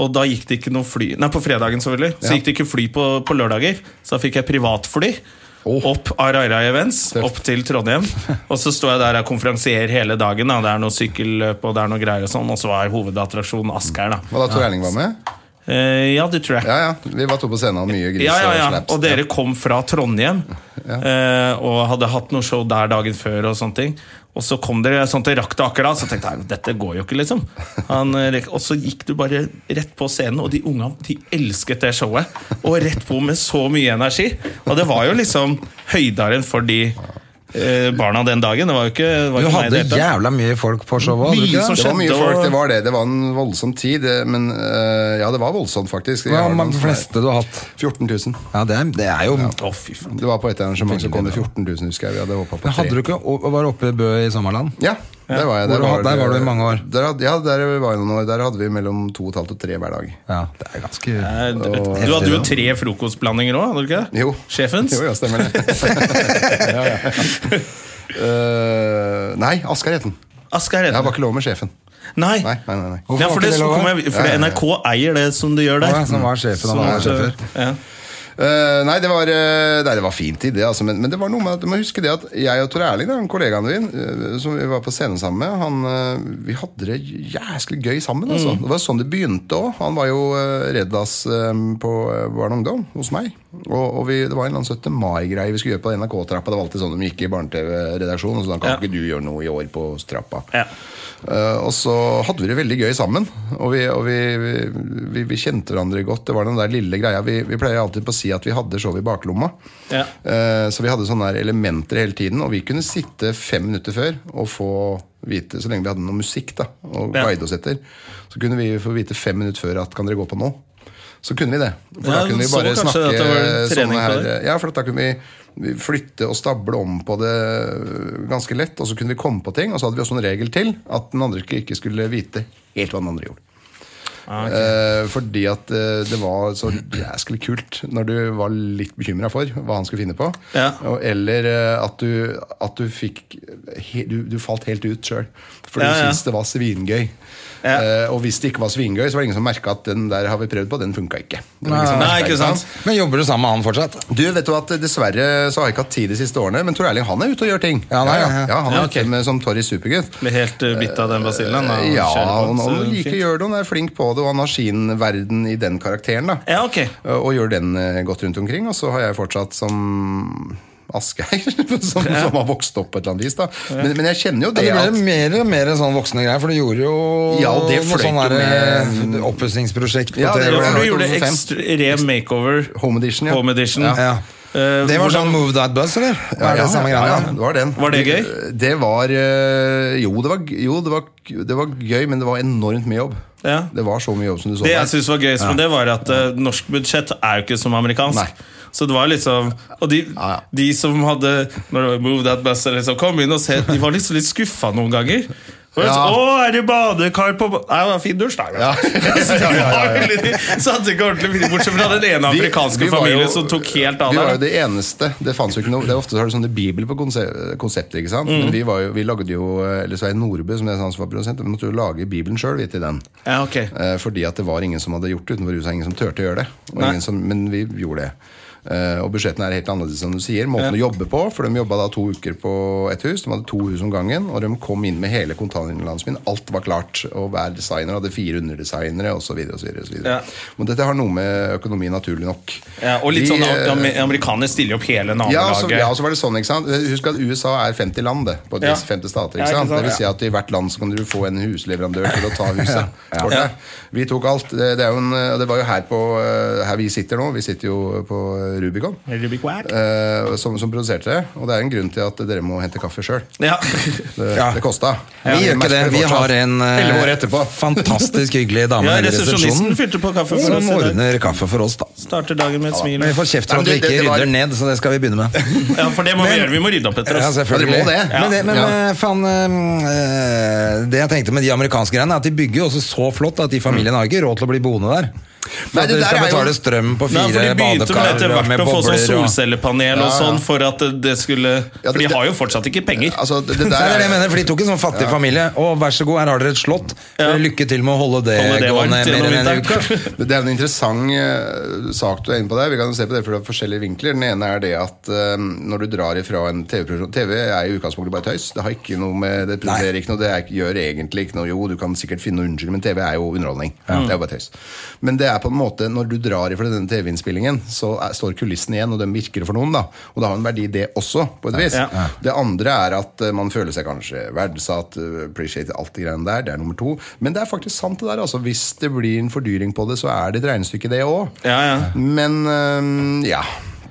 A: Og da gikk det ikke noe fly Nei, på fredagen, selvfølgelig. Så
C: Ja.
A: gikk det ikke fly på, på lørdager. Så da fikk jeg privatfly.
C: Åh.
A: Opp av Rai Rai Events,
C: Oh. Tøft.
A: opp til Trondheim. Og så står jeg der og konferansierer hele dagen. Da. Det er noe sykkelløp og det er noe greier og sånn. Og så var hovedattraksjonen Asker, da.
C: Hva da, Tor Erling var med?
A: Eh, ja, det tror jeg.
C: Ja, ja. Vi var to på scenen og mye gris
A: Ja, ja,
C: og
A: ja.
C: slaps.
A: Og dere kom fra Trondheim eh, og hadde hatt noe show der dagen før. Og sånne ting Og så kom dere sånn til rakk det akkurat, så tenkte jeg dette går jo ikke. liksom Han, eh, rek- Og så gikk du bare rett på scenen, og de unga de elsket det showet. Og rett på med så mye energi. Og det var jo liksom høydaren for de eh, barna den dagen. Det var jo ikke, det var
D: Du
A: ikke meg i
D: hadde
A: det hele tatt.
D: jævla mye folk på showet. hadde du
A: Mye
D: ikke
A: som
D: det?
C: Det var mye
A: skjedde,
C: folk,
A: og-
C: det var det. Det var en voldsom tid, eh, men eh, ja, det var voldsomt, faktisk.
D: Hva
C: Jeg
D: er
C: har noen
D: de fleste du har hatt?
C: 14 000.
D: Ja, det er, det er jo
A: Å, fy faen.
C: Det var på et arrangement som kom det 14 000, husker jeg. Vi hadde håpet
D: Men
C: på
D: Hadde du
C: tre.
D: ikke å- var oppe i Bø i sommerland?
C: Ja, der var jeg.
D: Hvor du- der var du i mange år?
C: Der, had- ja, der var jeg noen år. Der hadde vi mellom 2,5 og 3 hver dag.
D: Ja, det er ganske
A: Eh, Du du hadde jo tre frokostblandinger òg, hadde du ikke? det?
C: Jo.
A: Sjefens?
C: Jo, ja, stemmer det. ja, ja. Eh, nei, Askar het den.
A: Asker
C: Jeg
A: heter
C: var
A: det.
C: ikke lov med sjefen.
A: Nei.
C: Nei, nei, nei. nei.
D: Hvorfor
A: Ja,
D: var ikke
A: for, det,
D: det
A: så
D: lov,
A: kommer
D: da?
A: jeg, for det, NRK eier det som du gjør
D: Å,
A: der.
B: sånn.
D: ja, som var sjefen av
A: Så-
D: alle sjefer.
A: Ja.
C: Eh, nei, det var, eh, nei, det var fint tid, det. Altså, men, men det var noe med at du må huske det at jeg og Tor Erling, da, kollegaen din, eh, som vi var på scenen sammen med, han, eh, vi hadde det jæsklig gøy sammen. Altså.
A: Mm.
C: Det var sånn det begynte òg. Han var jo uh, Reddas eh, på eh, Barn og Ungdom hos meg. Og, og vi, det var en eller annen 17. mai-greie vi skulle gjøre på NRK-trappa. Det var alltid sånn de gikk i barne-TV-redaksjonen. Så da kan
A: Ja.
C: ikke du gjøre noe i år på trappa.
A: Ja.
C: Eh, og så hadde vi det veldig gøy sammen. Og vi, og vi, vi, vi, vi kjente hverandre godt. Det var den der lille greia Vi, vi pleier alltid på å si at vi hadde show i baklomma.
A: Ja.
C: Eh, så vi hadde sånne her elementer hele tiden, og vi kunne sitte fem minutter før og få vite, så lenge vi hadde noe musikk da, og
A: Ja.
C: guide oss etter, så kunne vi få vite fem minutter før at kan dere gå på nå? Så kunne vi det. For
A: Ja,
C: da kunne vi
A: så
C: bare
A: kanskje
C: snakke
A: at det var en trening
C: sånne
A: på
C: her Ja, for da kunne vi- vi flytte og stable om på det øh, ganske lett, og så kunne vi komme på ting, og så hadde vi også en regel til at den andre ikke skulle vite helt hva den andre gjorde.
A: Ah, ok.
C: Eh, fordi at eh, det var så jæsklig kult når du var litt bekymra for hva han skulle finne på.
A: Ja.
C: Og, eller eh, at du, at du fikk he, du, du falt helt ut sjøl, for
A: Ja,
C: du
A: ja.
C: syntes det var svingøy.
A: Ja.
C: Eh, og hvis det ikke var svingøy, så var det ingen som merka at den der har vi prøvd på, den funka ikke. Det var ingen som
A: Nei,
C: merket,
A: ikke sant?
D: Men jobber du sammen med han fortsatt?
C: Du vet jo at Dessverre så har jeg ikke hatt tid de siste årene, men Tor Erling han er ute og gjør ting.
D: Ja, nei,
C: ja,
D: ja, ja.
C: Ja, han er
A: Ja,
C: ute
A: ok.
C: med som Torry Supergutt.
A: Ble helt eh, bitt av den basillen. da, og
C: Ja,
A: kjører på,
C: han, han
A: så
C: liker å
A: fint.
C: gjøre det, han er flink på det, og han har sin verden i den karakteren. da
A: Ja, ok.
C: og gjør den eh, godt rundt omkring. Og så har jeg fortsatt som Asgeir, som, som har vokst opp på et eller annet vis. da Men, men jeg kjenner jo det
D: Ja, det
C: at
D: ble mer og mer sånn voksne greier, for du gjorde jo
C: Ja, og det
D: noe
C: fløyt
D: sånn
C: jo
D: der,
C: med-
D: eh, oppussingsprosjekt på
C: Ja, det
A: Ja,
D: TV.
A: for du gjorde
C: 2005.
A: ekstrem makeover.
C: Home Edition, ja.
A: Home edition.
D: Ja.
A: Eh,
D: Det var
A: hvordan-
D: sånn Move That Bus, eller?
C: Ja,
D: Var
C: ja,
D: det samme
C: ja,
D: greia?
C: ja, det var den.
A: Var det gøy?
C: Det var eh, Jo, det var, jo det, var, det var gøy, men det var enormt mye jobb.
A: Ja.
C: Det var så mye jobb som du så
A: Det
C: der.
A: jeg synes var gøyest med det, var at eh, norsk budsjett er jo ikke som amerikansk.
C: Nei.
A: Så det var liksom Og de,
C: ja.
A: de som hadde Når det var Move That Bus eller liksom, kom inn og se, de var liksom litt skuffa noen ganger. Det var
C: Ja.
A: Sånn, Å, er det badekar på ba-» Nei, det var fin dusj, da.
C: Ja.
A: Så de var veldig- de satte ikke ordentlig fri, bortsett fra den ene
C: Vi-
A: amerikanske
C: vi var
A: familien
C: jo-
A: som tok helt av
C: Vi var
A: der.
C: jo det eneste. Det fantes jo ikke noe Det er ofte så har du sånne bibel på konse- konsepter. ikke
A: Mm.
C: sant? Men vi, var jo, vi lagde jo eh, Eller Svein Nordbø, som jeg sa han som var produsent, vi måtte jo lage Bibelen sjøl, vi, til den.
A: Ja, ok.
C: Eh, Fordi at det var ingen som hadde gjort det utenfor huset. Ingen som turte å gjøre det. Og
A: Nei.
C: ingen som, men vi gjorde det. Eh, og budsjettene er helt annerledes, som du sier. Måten å jobbe på, for de jobba da to uker på ett hus. De hadde to hus om gangen, og de kom inn med hele kontantinnenlandet min. Alt var klart. Og hver designer hadde fire underdesignere, osv.
A: Ja.
C: Men dette har noe med økonomi, naturlig nok.
A: Ja, og litt
C: De,
A: sånn
C: eh,
A: at amer- Amerikanere stiller opp hele
C: ja, så,
A: nabolaget.
C: ja, og så var det sånn, ikke sant? Husk at USA er 50 land, det. På
A: Ja.
C: 50 stater,
A: Ja,
C: ikke
A: ikke
C: sant? Det
A: sant?
C: vil si at i hvert land så kan du få en husleverandør til å ta huset. for deg. Vi tok alt. Det, det, er jo en, det var jo her, på, eh, her vi sitter nå. Vi sitter jo på Rubicon.
A: Rubik Wack.
C: eh, som, som produserte det. Og det er en grunn til at dere må hente kaffe sjøl.
A: Ja.
C: Det,
D: Ja.
C: det kosta.
D: Vi gjør ikke det. Vi har en eh,
C: Elleve år etterpå.
D: fantastisk hyggelig dame
A: ja,
D: nede i
A: resepsjonisten
D: resepsjonen
A: fylte på kaffe for oss
D: som
A: i dag.
D: ordner kaffe for oss, da.
A: Starter dagen med et smil.
D: Men vi får kjeft
C: Ja,
D: for
C: men
D: at vi
C: det-
D: ikke
C: det- det var-
D: rydder ned, så det skal vi begynne med.
A: Ja, for det må vi gjøre. Vi må rydde opp etter
D: Ja,
A: oss.
D: selvfølgelig.
C: Ja, dere må det.
D: Men, det, men
C: Ja.
D: eh, faen, eh, det jeg tenkte med de amerikanske greiene, er at de bygger jo også så flott at de familiene har ikke råd til å bli boende der. For
C: Nei,
D: at
C: det
D: de
C: der
D: skal
C: er jo-
D: betale strøm på
A: Nei,
D: fire
A: for De begynte vel etter
D: badekar og
A: hvert
D: med
A: å få sånn
D: bobler og
A: solcellepanel og sånn for at det skulle For de
C: det-
A: har jo fortsatt ikke penger.
C: Altså, det,
D: Nei,
C: det
D: det
C: der
D: er det jeg mener, for De tok en sånn fattig familie. Og vær så god, her har dere et slott. Eh, Lykke til med å holde det,
A: Holde det
D: gående
A: varmt
D: mer
A: gjennom
D: enn en uke.
A: vinteren.
C: Det det er en interessant eh, sak du er inne på der. Vi kan jo se på det fra forskjellige vinkler. Den ene er det at eh, når du drar ifra en TV-produksjon TV er i utgangspunktet bare tøys. Det har ikke noe med Det produserer ikke noe, det er, gjør egentlig ikke noe. Jo, du kan sikkert finne noen unnskyldning, men TV er jo underholdning. Det er jo bare tøys. Men det er på en måte når du drar ifra denne TV-innspillingen, så er, står kulissen igjen, og den virker for noen, da. Og det har en verdi, det også, på et vis.
A: Ja.
C: Det andre er at eh, man føler seg kanskje verdsatt, eh, appreciate alt det greiene der. Det er nummer to. Men det er faktisk sant, det der. altså Hvis det blir en fordyring på det, så er det et regnestykke, det òg.
A: Ja, ja.
C: Men eh, ja.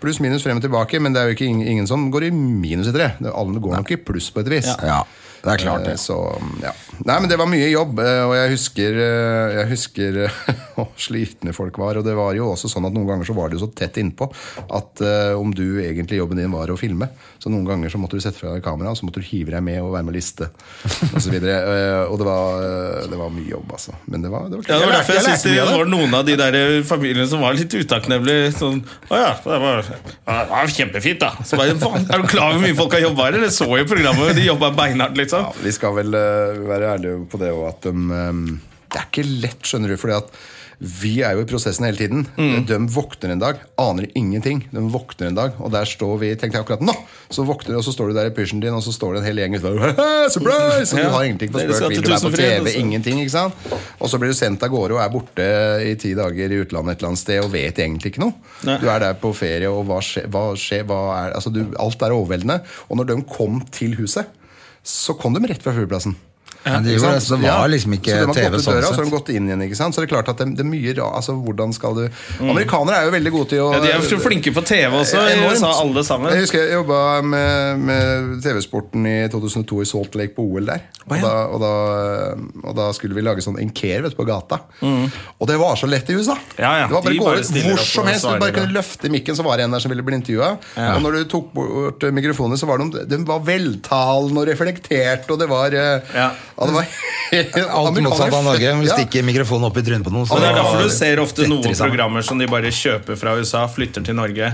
C: Pluss minus frem og tilbake, men det er jo ikke ingen, ingen som går i minus etter det. Det- Alle går nok i pluss på et vis.
D: Ja, det er klart,
C: Eh,
D: det.
C: Så, ja. Nei, men det var mye jobb, eh, og jeg husker, eh, jeg husker eh, hvor slitne folk var. Og det var jo også sånn at noen ganger så var det jo så tett innpå at eh, om du egentlig jobben din var å filme, så noen ganger så måtte du sette fra deg kameraet, og så måtte du hive deg med og være med liste osv. Og, så videre. Eh, og det var, eh, det var mye jobb, altså. Men det var, det var,
A: Ja, det var
C: jeg
A: derfor jeg
C: lærte-
A: synes det
C: jeg lærte mye av
A: var noen av de der eh, familiene som var litt utakknemlige. Sånn, å ja, det var, ja, det var kjempefint, da. Så bare, faen, er du klar over hvor mye folk har jobba her? Dere så jo programmet, de jobba beinhardt, liksom.
C: Ja, vi skal vel eh, være ærlige på det òg, at de, eh, det er ikke lett, skjønner du. fordi at vi er jo i prosessen hele tiden.
A: Mm.
C: De våkner en dag, aner ingenting. De våkner en dag, og der står vi tenkte jeg akkurat nå! Så våkner du, og så står du der i pysjen din, og så står det en hel gjeng utenfor. «Haha, Surprise! Så du
A: Ja.
C: har ingenting på
A: Dere skal
C: spøk, vil du
A: til
C: være på
A: Tusenfryd,
C: TV,
A: altså.
C: ingenting. ikke sant? Og så blir du sendt av gårde og er borte i ti dager i utlandet et eller annet sted og vet egentlig ikke noe.
A: Nei.
C: Du er der på ferie, og hva skjer? Hva skjer hva er, altså du, alt er overveldende. Og når de kom til huset, så kom de rett fra flyplassen.
D: Men de
C: Ikke
D: gjorde
C: sant?
D: det, så det var
C: Ja.
D: liksom
C: så
D: ikke
C: de har
D: TV
C: gått ut
D: sånn
C: døra, så har de
D: sett.
C: gått inn igjen. ikke sant? Så det er klart at det, det er mye ra- altså, hvordan skal du... Amerikanere er jo veldig gode til å
A: Mm. Ja, de er så flinke på TV også, i
C: Eh, Enormt.
A: USA, alle sammen.
C: Jeg husker jeg jobba med, med TV-sporten i 2002 i Salt Lake på OL der. Og, da, og, da, og da skulle vi lage sånn enker vet, du, på gata. Og det var så lett i USA!
A: Mm. Ja, ja.
C: Det var bare
A: De
C: å gå
A: bare
C: ut
A: stiller
C: hvor
A: opp
C: som
A: og
C: helst. Du
A: svarer,
C: bare
A: ja.
C: kunne løfte mikken, så var det en der som ville bli intervjua. Og når du tok bort eh, mikrofonen, så var de, de var veltalende og reflekterte, og det var eh,
A: Ja.
C: det var
D: Alt
C: Amerikanere-
D: motsatt av Norge. Vi
C: Ja.
D: stikker mikrofonen opp i trynet på noen. så
A: Og det er
D: da-
A: derfor du ser ofte
D: detter
A: noen
D: i sammen.
A: programmer som de bare kjøper fra USA, flytter til Norge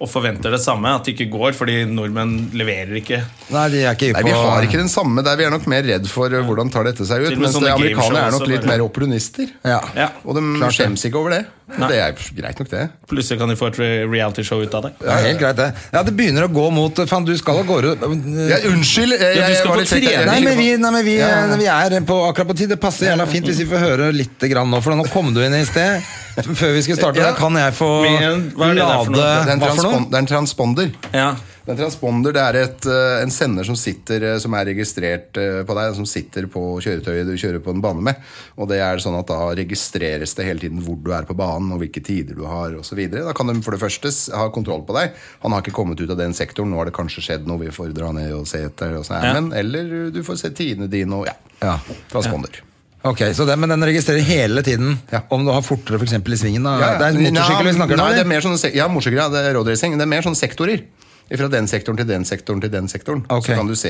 A: og forventer det samme. At det ikke går, fordi nordmenn leverer ikke.
D: Nei, de er ikke
C: Nei,
D: hypp
C: Vi
D: på
C: har ikke den samme der. Vi er nok mer redd for eh, hvordan tar dette seg ut.
A: Til og med
C: Mens
A: sånne
C: det amerikanere
A: gameshow
C: er nok
A: også,
C: litt
A: bare.
C: mer opportunister.
D: Ja.
A: Ja.
C: Og de
D: Klart det.
C: skjems ikke over det. Det er jo greit nok, det.
A: Plutselig kan de få et re- realityshow ut av det.
D: Det er helt greit, det. Ja, det begynner å gå mot Faen, du skal av gårde
C: Ja, unnskyld! eh, Jeg,
A: Ja, du skal
C: var
A: på
C: litt sent. Jeg-
D: Nei,
A: trening.
D: men vi, nei, men vi,
C: Ja, ja.
D: eh, vi er på akkurat på tid. Det passer jævla fint hvis vi får høre litt grann nå. For nå kom du inn i sted. Før vi skulle starte,
C: Ja.
D: da kan jeg få
A: Men, hva er det der for noe?
D: lade
C: Det er en,
D: Hva for noe?
C: transpon det er en transponder.
A: Ja.
C: Det er En transponder det er et, eh, en sender som, sitter, eh, som er registrert eh, på deg, som sitter på kjøretøyet du kjører på en bane med. Og det er sånn at Da registreres det hele tiden hvor du er på banen og hvilke tider du har osv. Da kan de for det første s- ha kontroll på deg. Han har ikke kommet ut av den sektoren, nå har det kanskje skjedd noe, vi får dra ned og se etter. Og så er
A: Ja.
C: men, eller du får se tidene dine og ja.
D: Ja.
C: Transponder.
D: Ok, så den, Men den registrerer hele tiden om du har fortere for eksempel, i svingen? Da. Det er motorsykkel vi snakker
C: nei,
D: om?
C: det er
D: eller?
C: mer sånne, sek- ja, motorsykkel, ja, det er road racing. Det er mer sånne sektorer. Fra den sektoren til den sektoren til den sektoren.
D: Ok.
C: Så kan du se,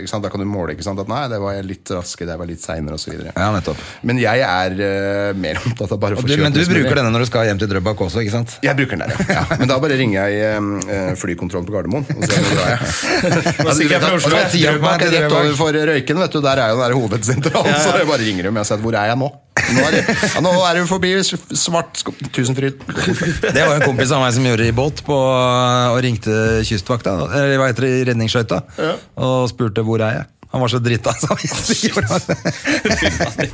C: ikke sant? Da kan du måle ikke sant? at nei, det var jeg litt raske, det var litt seinere osv.
D: Ja, nettopp.
C: Men jeg er eh, mer opptatt av bare å
D: Og
C: få
D: du,
C: kjørt
D: men du
C: mest mulig.
D: bruker denne når du skal hjem til Drøbak også, ikke sant?
C: Jeg bruker den der, ja. ja. Men da bare ringer jeg eh, flykontrollen på Gardermoen. Og så drar jeg.
A: Nå stikker jeg fra Oslo.
C: Drøbak er rett over for Røyken, vet du. Der er jo den der hovedsentralen. Så jeg bare ringer dem og sier hvor er jeg nå? Nå er det, ja, nå er det jo forbi s- svart sko- Tusenfryd.
B: Det var en kompis av meg som gjorde det i båt på, og ringte kystvakta, eller hva heter det, redningsskøyta, og spurte hvor er jeg. Han var så drita, så han visste ikke hvor han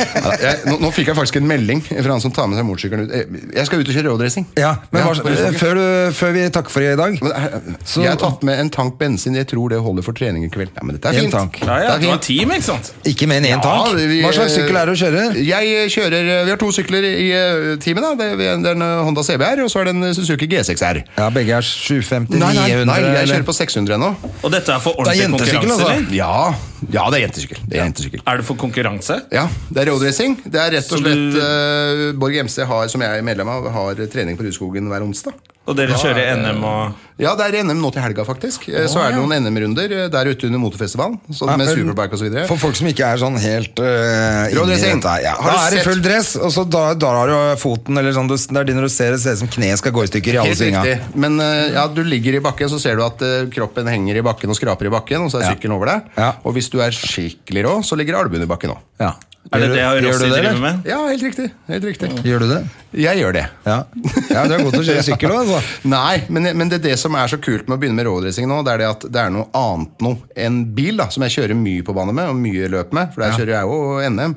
C: Ja, jeg, nå, nå fikk jeg faktisk en melding fra han som tar med seg motorsykkelen ut. Eh, Jeg skal ut og kjøre roadracing.
B: Ja, men hva,
C: på Rødstokken.
B: før, du, før vi takker for i dag
C: Men eh, det er-
B: Så-
C: Jeg har tatt med en tank bensin. Jeg tror det holder for trening i kveld. Ja, men dette er
B: En
C: fint.
B: tank.
A: Ja, ja,
C: det
A: det
C: er
A: var
C: fint.
A: team, ikke sant?
B: Ikke mer enn én tank?
C: Ja, vi-
B: Hva slags sykkel er det å kjøre?
C: Jeg eh, kjører, Vi har to sykler i eh, teamet. da Det det er en eh, Honda CBR og så er det en eh, Suzuki G6R.
B: Ja, Begge er 750,
C: Nei, nei,
B: 900
C: nei, jeg
B: eller-
C: kjører på 600 nå.
A: Og dette er for
B: Det er
A: ordentlig
B: jentesykkel,
A: konkurranse,
B: altså.
A: eller?
C: Ja, ja det er jentesykkel. Det er jentesykkel.
A: Er det for konkurranse?
C: Ja, det er roadracing. Det er rett og
A: Så
C: slett
A: du-
C: eh, Borg MC, har, som jeg er medlem av, har trening på Rudskogen hver onsdag.
A: Og dere kjører NM og
C: Ja, det er NM nå til helga, faktisk. Eh, så er det noen NM-runder eh, der ute under motorfestivalen. Så med
B: Ja, men-
C: superbike og så videre.
B: For folk som ikke er sånn helt uh,
C: Rå dressing.
B: ja.
C: Har
B: Da
C: du
B: er det
C: sett-
B: full dress, og så da, da har du foten eller sånn, du- Det er din du ser det ser ut som kneet skal gå i stykker i alle
C: Helt
B: svinga.
C: riktig. Men eh, ja, du ligger i bakken, så ser du at eh, kroppen henger i bakken og skraper i bakken, og så er
B: Ja.
C: sykkelen over deg.
B: Ja.
C: Og hvis du er skikkelig rå, så ligger albuen i bakken òg.
B: Ja.
A: Er
B: Gjør
A: det
B: du-
A: det
B: gjør
A: Rossi
B: du det,
A: driver
B: eller?
A: med?
C: Ja, helt riktig. Helt riktig.
B: Gjør du det?
C: Jeg gjør det.
B: Ja. ja, du er god til å kjøre sykkel òg, altså.
C: Nei, men, men det er det som er så kult med å begynne med roadracing nå, det er det at det er noe annet nå enn bil, da, som jeg kjører mye på bane med, og mye løp med, for der kjører jeg jo NM.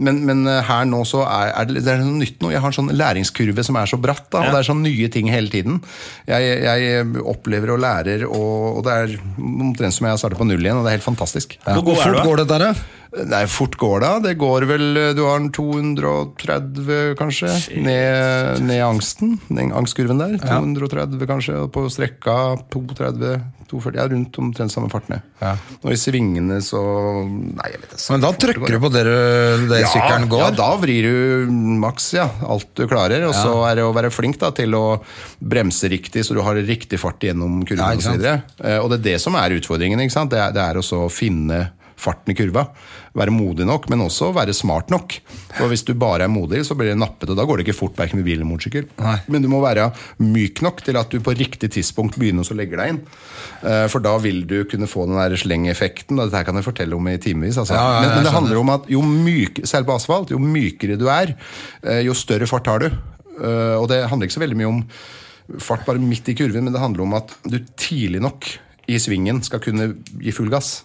C: Men, men eh, her nå så er, er det, det er noe nytt nå. Jeg har en sånn læringskurve som er så bratt, da, og det er sånn nye ting hele tiden. Jeg, jeg opplever og lærer, og, og det er omtrent som jeg starter på null igjen, og det er helt fantastisk.
B: Ja.
A: Hvor god
B: Hvor
A: er du,
B: fort
A: da?
B: går dette her, da?
C: Nei, fort går det. Det går vel eh, Du har en 230, kanskje, ned, ned angsten. Den angstkurven der. 230, kanskje. Og på strekka 230, 240. Ja, rundt omtrent samme fart ned. Og i svingene så Nei, jeg vet ikke.
B: Men da trykker du på det, du- det sykkelen går?
C: ja, da vrir du maks ja, alt du klarer. Og så er det å være flink da, til å bremse riktig, så du har riktig fart gjennom kurven.
B: Ja, ikke
C: og, så
B: sant?
C: videre. Eh, og det er det som er utfordringen. Ikke sant? Det, er, det er også å finne farten i kurva. Være modig nok, men også være smart nok. For Hvis du bare er modig, så blir det nappet, og da går det ikke fort verken med bil eller motorsykkel.
B: Nei.
C: Men du må være myk nok til at du på riktig tidspunkt begynner å legge deg inn. Eh, For da vil du kunne få den der slengeffekten. da. Dette her kan jeg fortelle om i timevis. Altså.
B: Ja, ja, ja,
C: men, men
B: jeg
C: det handler om at jo myk, selv på asfalt, jo mykere du er, eh, jo større fart har du. Eh, Og det handler ikke så veldig mye om fart bare midt i kurven, men det handler om at du tidlig nok i svingen skal kunne gi full gass.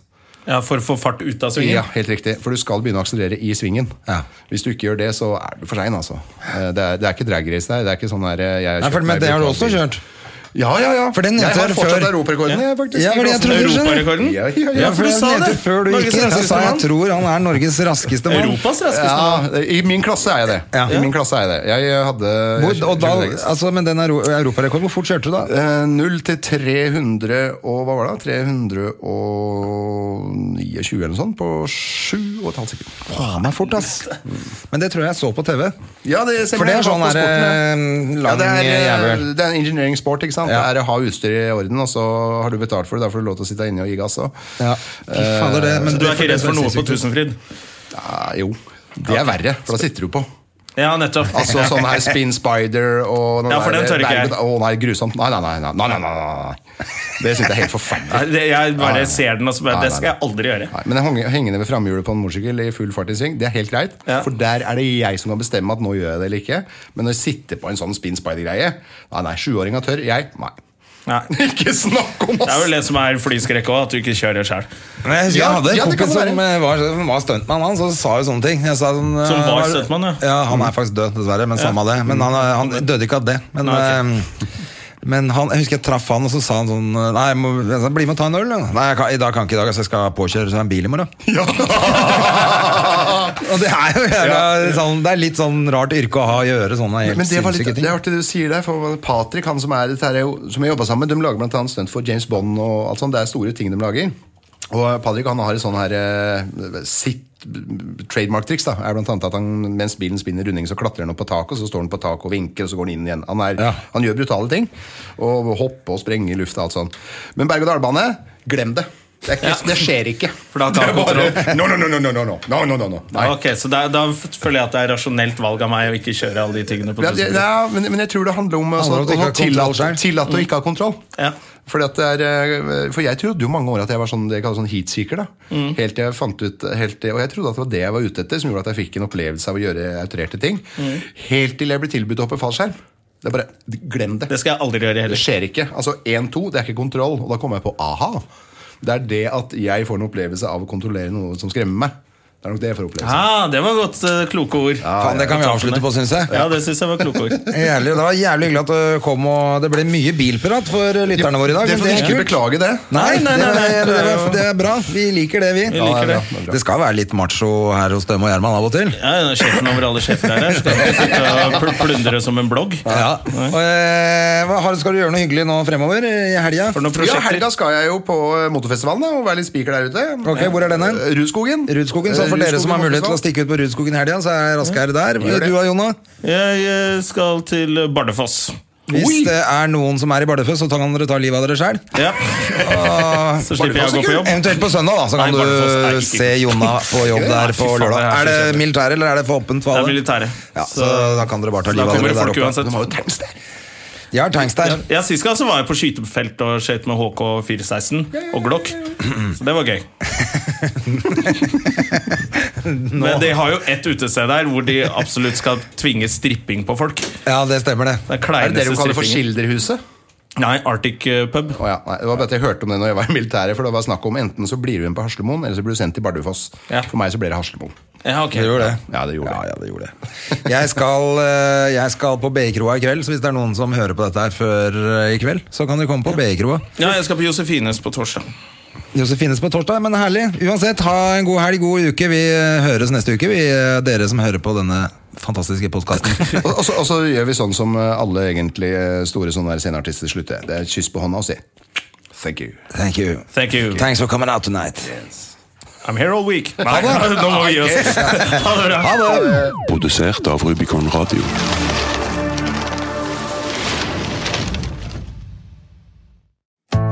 A: Ja, For å få fart ut av svingen?
C: Ja, helt riktig. For du skal begynne å akselerere i svingen.
B: Ja.
C: Hvis du ikke gjør det, så er du for sein, altså. Eh, Det er, det er ikke drag race der. Det er ikke sånn der eh, jeg
B: Nei, for, men
C: meg
B: det har du også
C: brutalt bil.
B: kjørt?
C: Ja, ja, ja.
B: For den
C: jeg
B: nevnte
C: har
B: jeg
C: fortsatt
B: før.
C: europarekorden, jeg, faktisk.
B: Ja, for
C: i
B: jeg
C: klassen.
B: trodde du skjønte.
A: Europarekorden?
C: Ja, ja, ja.
A: Ja, for du
B: jeg
A: sa
B: nevnte
A: det!
B: Før du
A: Norges
B: gikk, så
A: raskeste
B: sa jeg
A: mann.
B: tror han er Norges raskeste mann.
A: Europas raskeste mann.
C: Ja, I min klasse er jeg det. I min klasse er Jeg det Jeg hadde
B: Hvor, og da,
C: jeg kjørte-
B: altså, men den euro- europarekorden, hvor fort kjørte du da?
C: Eh, 0 til 300 og hva var det? 329 eller noe sånt på 7,5 sekunder.
B: Faen meg fort, ass. Men det tror jeg jeg så på TV.
C: Ja, det stemmer.
B: For det er
C: Jeg var
B: sånn
C: på
B: der,
C: sporten,
B: eh,
C: ja. Ja,
B: lang
C: det er,
B: jævel.
C: eh, det er en engineering sport. ikke sant?
B: Ja.
C: Det er å ha utstyret i orden, og så har du betalt for det. Da får du lov til å sitte inne og gi gass. også.
B: Ja. Fy fader, det, men
A: Så du
B: det-
A: er ikke redd
C: sånn
A: for noe på Tusenfryd?
C: Ja, jo, det er verre, for da sitter du på.
A: Ja, nettopp.
C: Altså sånn her Spin Spider og noe
A: Ja, for
C: der-
A: den tør ikke jeg.
C: Berg- Å nei, grusomt. Nei, nei, nei. nei, nei, nei, nei, nei. Det syns jeg er helt forferdelig.
A: Nei, det, jeg
C: Nei,
A: bare
C: nei.
A: ser den og så bare
C: Nei,
A: Det
C: nei,
A: skal jeg
C: nei.
A: aldri gjøre.
C: Nei, men jeg hang- henger ned ved framhjulet på en motorsykkel i full fart i sving. Det er helt greit,
A: Ja.
C: for der er det jeg som kan bestemme at nå gjør jeg det eller ikke. Men når jeg sitter på en sånn spin spider-greie Nei, nei, sjuåringa tør. Jeg? Nei.
A: Nei.
C: Ikke snakk om
A: Det er
C: oss!
A: vel det som er flyskrekk òg, at du ikke kjører sjøl.
B: Men jeg husker
C: Ja,
B: jeg hadde en
C: ja, det
B: kompis
C: kan det
B: som eh, var, som var stuntmann, han, så sa jo sånne ting. Jeg sa sånn, eh,
A: Som var
B: han
A: stuntmann, ja. Mm.
B: Ja, han er faktisk død, dessverre, men samme av det. Men han, eh, han døde ikke av det. Men,
A: Nei, ok.
B: eh, men han, jeg husker jeg traff han, og så sa han sånn eh, Nei, jeg må, jeg sa, bli med og ta en øl. da.» Nei, jeg kan, i dag kan ikke i dag, altså, jeg skal påkjøre så jeg har en bil i morgen.
C: Ja.
B: Og det er jo jævla, sånn, det er litt sånn rart yrke å ha å gjøre sånne helt
C: Men det, var litt,
B: sinnssyke
C: det
B: ting.
C: er artig det du sier der, for Patrick, han som, er, dette her er jo- som jeg jobba sammen med, de lager bl.a. stunt for James Bond og alt sånt. Det er store ting de lager. Og Patrick han har et sånn her eh, sitt trademark-triks. da, er blant annet at han, Mens bilen spinner runding, så klatrer han opp på taket, og så står han på taket og vinker, og så går han inn igjen. Han, er,
B: Ja.
C: han gjør brutale ting. Og hopper og sprenger i lufta og alt sånn. Men berg-og-dal-bane, glem det. Det, er ikke, det skjer ikke.
A: For da tar
C: Det er
A: han
C: bare- No, no, no, no, no, no, no. no, no, no, no. Nei.
A: Ja, ok, Så da, da føler jeg at det er rasjonelt valg av meg å ikke kjøre alle de tingene. på
C: Ja, det,
A: tusen kroner.
C: ja, men, men jeg tror det handler om altså,
E: om at du ikke
C: å
E: har kontroll
C: tillate
E: selv.
C: tillate å ikke ha kontroll.
A: Ja.
C: Fordi at det er, eh, for jeg trodde jo mange år at jeg var sånn, det jeg kaller sånn heatseeker. da.
A: Mm.
C: Helt til jeg fant ut, helt til, Og jeg trodde at det var det jeg var ute etter, som gjorde at jeg fikk en opplevelse av å gjøre autorerte ting.
A: Mm.
C: Helt til jeg ble tilbudt å hoppe fallskjerm. Det er bare, Glem det.
A: Det skal jeg aldri gjøre
C: Det
A: heller.
C: skjer ikke. Altså 1-2, det er ikke kontroll. Og da kommer jeg på aha. Det er det at jeg får en opplevelse av å kontrollere noe som skremmer meg. Det er nok det jeg får opplevelse.
A: Ah, det var godt eh, kloke ord.
B: Faen, det kan vi avslutte på, syns jeg.
A: Ja, det syns jeg var kloke ord.
B: Jævlig, det var jævlig hyggelig at du kom, og det ble mye bilprat for lytterne våre i dag.
C: Det
B: men
C: får vi
B: er
C: ikke
B: kult.
C: beklage, det.
B: Nei,
A: Nei,
B: nei,
A: nei, nei,
B: det,
A: det er
B: er-
A: jo-
B: det er bra. Vi liker det, vi.
A: Vi liker det.
C: er bra.
B: Det skal være litt macho her hos dem og Gjerman av og til.
A: Ja, ja, Sjefen over alle sjefer er her. Skal ikke sitte og pl plundre som en blogg.
B: Ja. Og, eh, hva, har- skal du gjøre noe hyggelig nå fremover eh, i helga?
A: For noen
C: Ja,
A: prosjekter
C: helga skal jeg jo på eh, motorfestivalen da, og være litt spiker der ute.
B: Ok, hvor er den hen?
C: Eh, Rudskogen.
B: Rudskogen, så
C: Eh,
B: for dere som har mulighet til å
C: motorfestival.
B: stikke ut på Rudskogen i helga, så er Raskere der.
C: Gjør det.
B: Du og Jonna?
A: Jeg eh, skal til Bardufoss.
B: Hvis det er noen som er i Bardufoss, så kan dere ta livet av dere sjøl.
A: Ja. Så slipper jeg å gå på jobb.
B: Eventuelt på søndag, da, så kan
A: Nei, Bardufoss er
B: du
A: ikke
B: se Jonna på jobb der på
A: Fy faen,
B: lørdag.
A: jeg er så
B: Er det
A: kjedelig.
B: militære, eller er det for åpent for
A: Det
B: alle?
A: er militære.
B: Ja, så
A: Så
B: da kan dere bare ta
A: da
B: livet av
A: kommer det
B: dere
A: folk
B: der oppe.
A: uansett.
B: Jeg har tanks der.
A: Ja, Sist gang så var jeg på skytefelt og skjøt med HK 416 og Glock. Så det var gøy. Men de har jo ett utested der hvor de absolutt skal tvinge stripping på folk. Det
B: Ja, det stemmer det.
A: er
C: Er det det
A: kleineste
C: hun kaller for
A: strippingen.
C: Skilderhuset?
A: Nei, Arctic eh, Pub.
C: Å ja, nei, det var bare at Jeg hørte om det når jeg var i militæret. For det var snakk om Enten så blir du igjen på Haslemoen, eller så blir du sendt til Bardufoss.
A: Ja.
C: For meg så ble det Haslemoen.
A: Ja, ok.
B: Det gjorde det.
C: Ja, det gjorde
B: Ja,
C: det.
B: ja, det gjorde det. Jeg skal, eh, jeg skal på BI-kroa i kveld, så hvis det er noen som hører på dette her før eh, i kveld, så kan du komme på BI-kroa.
A: Ja, jeg skal på Josefines på torsdag.
B: Josefines på torsdag, men herlig. Uansett, ha en god helg, god uke. Vi eh, høres neste uke, vi, eh, dere som hører på denne fantastiske podkasten.
C: Og, og, så, og så gjør vi sånn som eh, alle egentlig eh, store sånne der sceneartister slutter. Det er et kyss på hånda og si thank you.
B: Thank you.
A: Thank you.
B: Thanks for coming out tonight.
A: I'm here all week. Nei, nå må vi gi oss. Ha det bra.
B: Ha det!
F: Produsert av Rubicon Radio.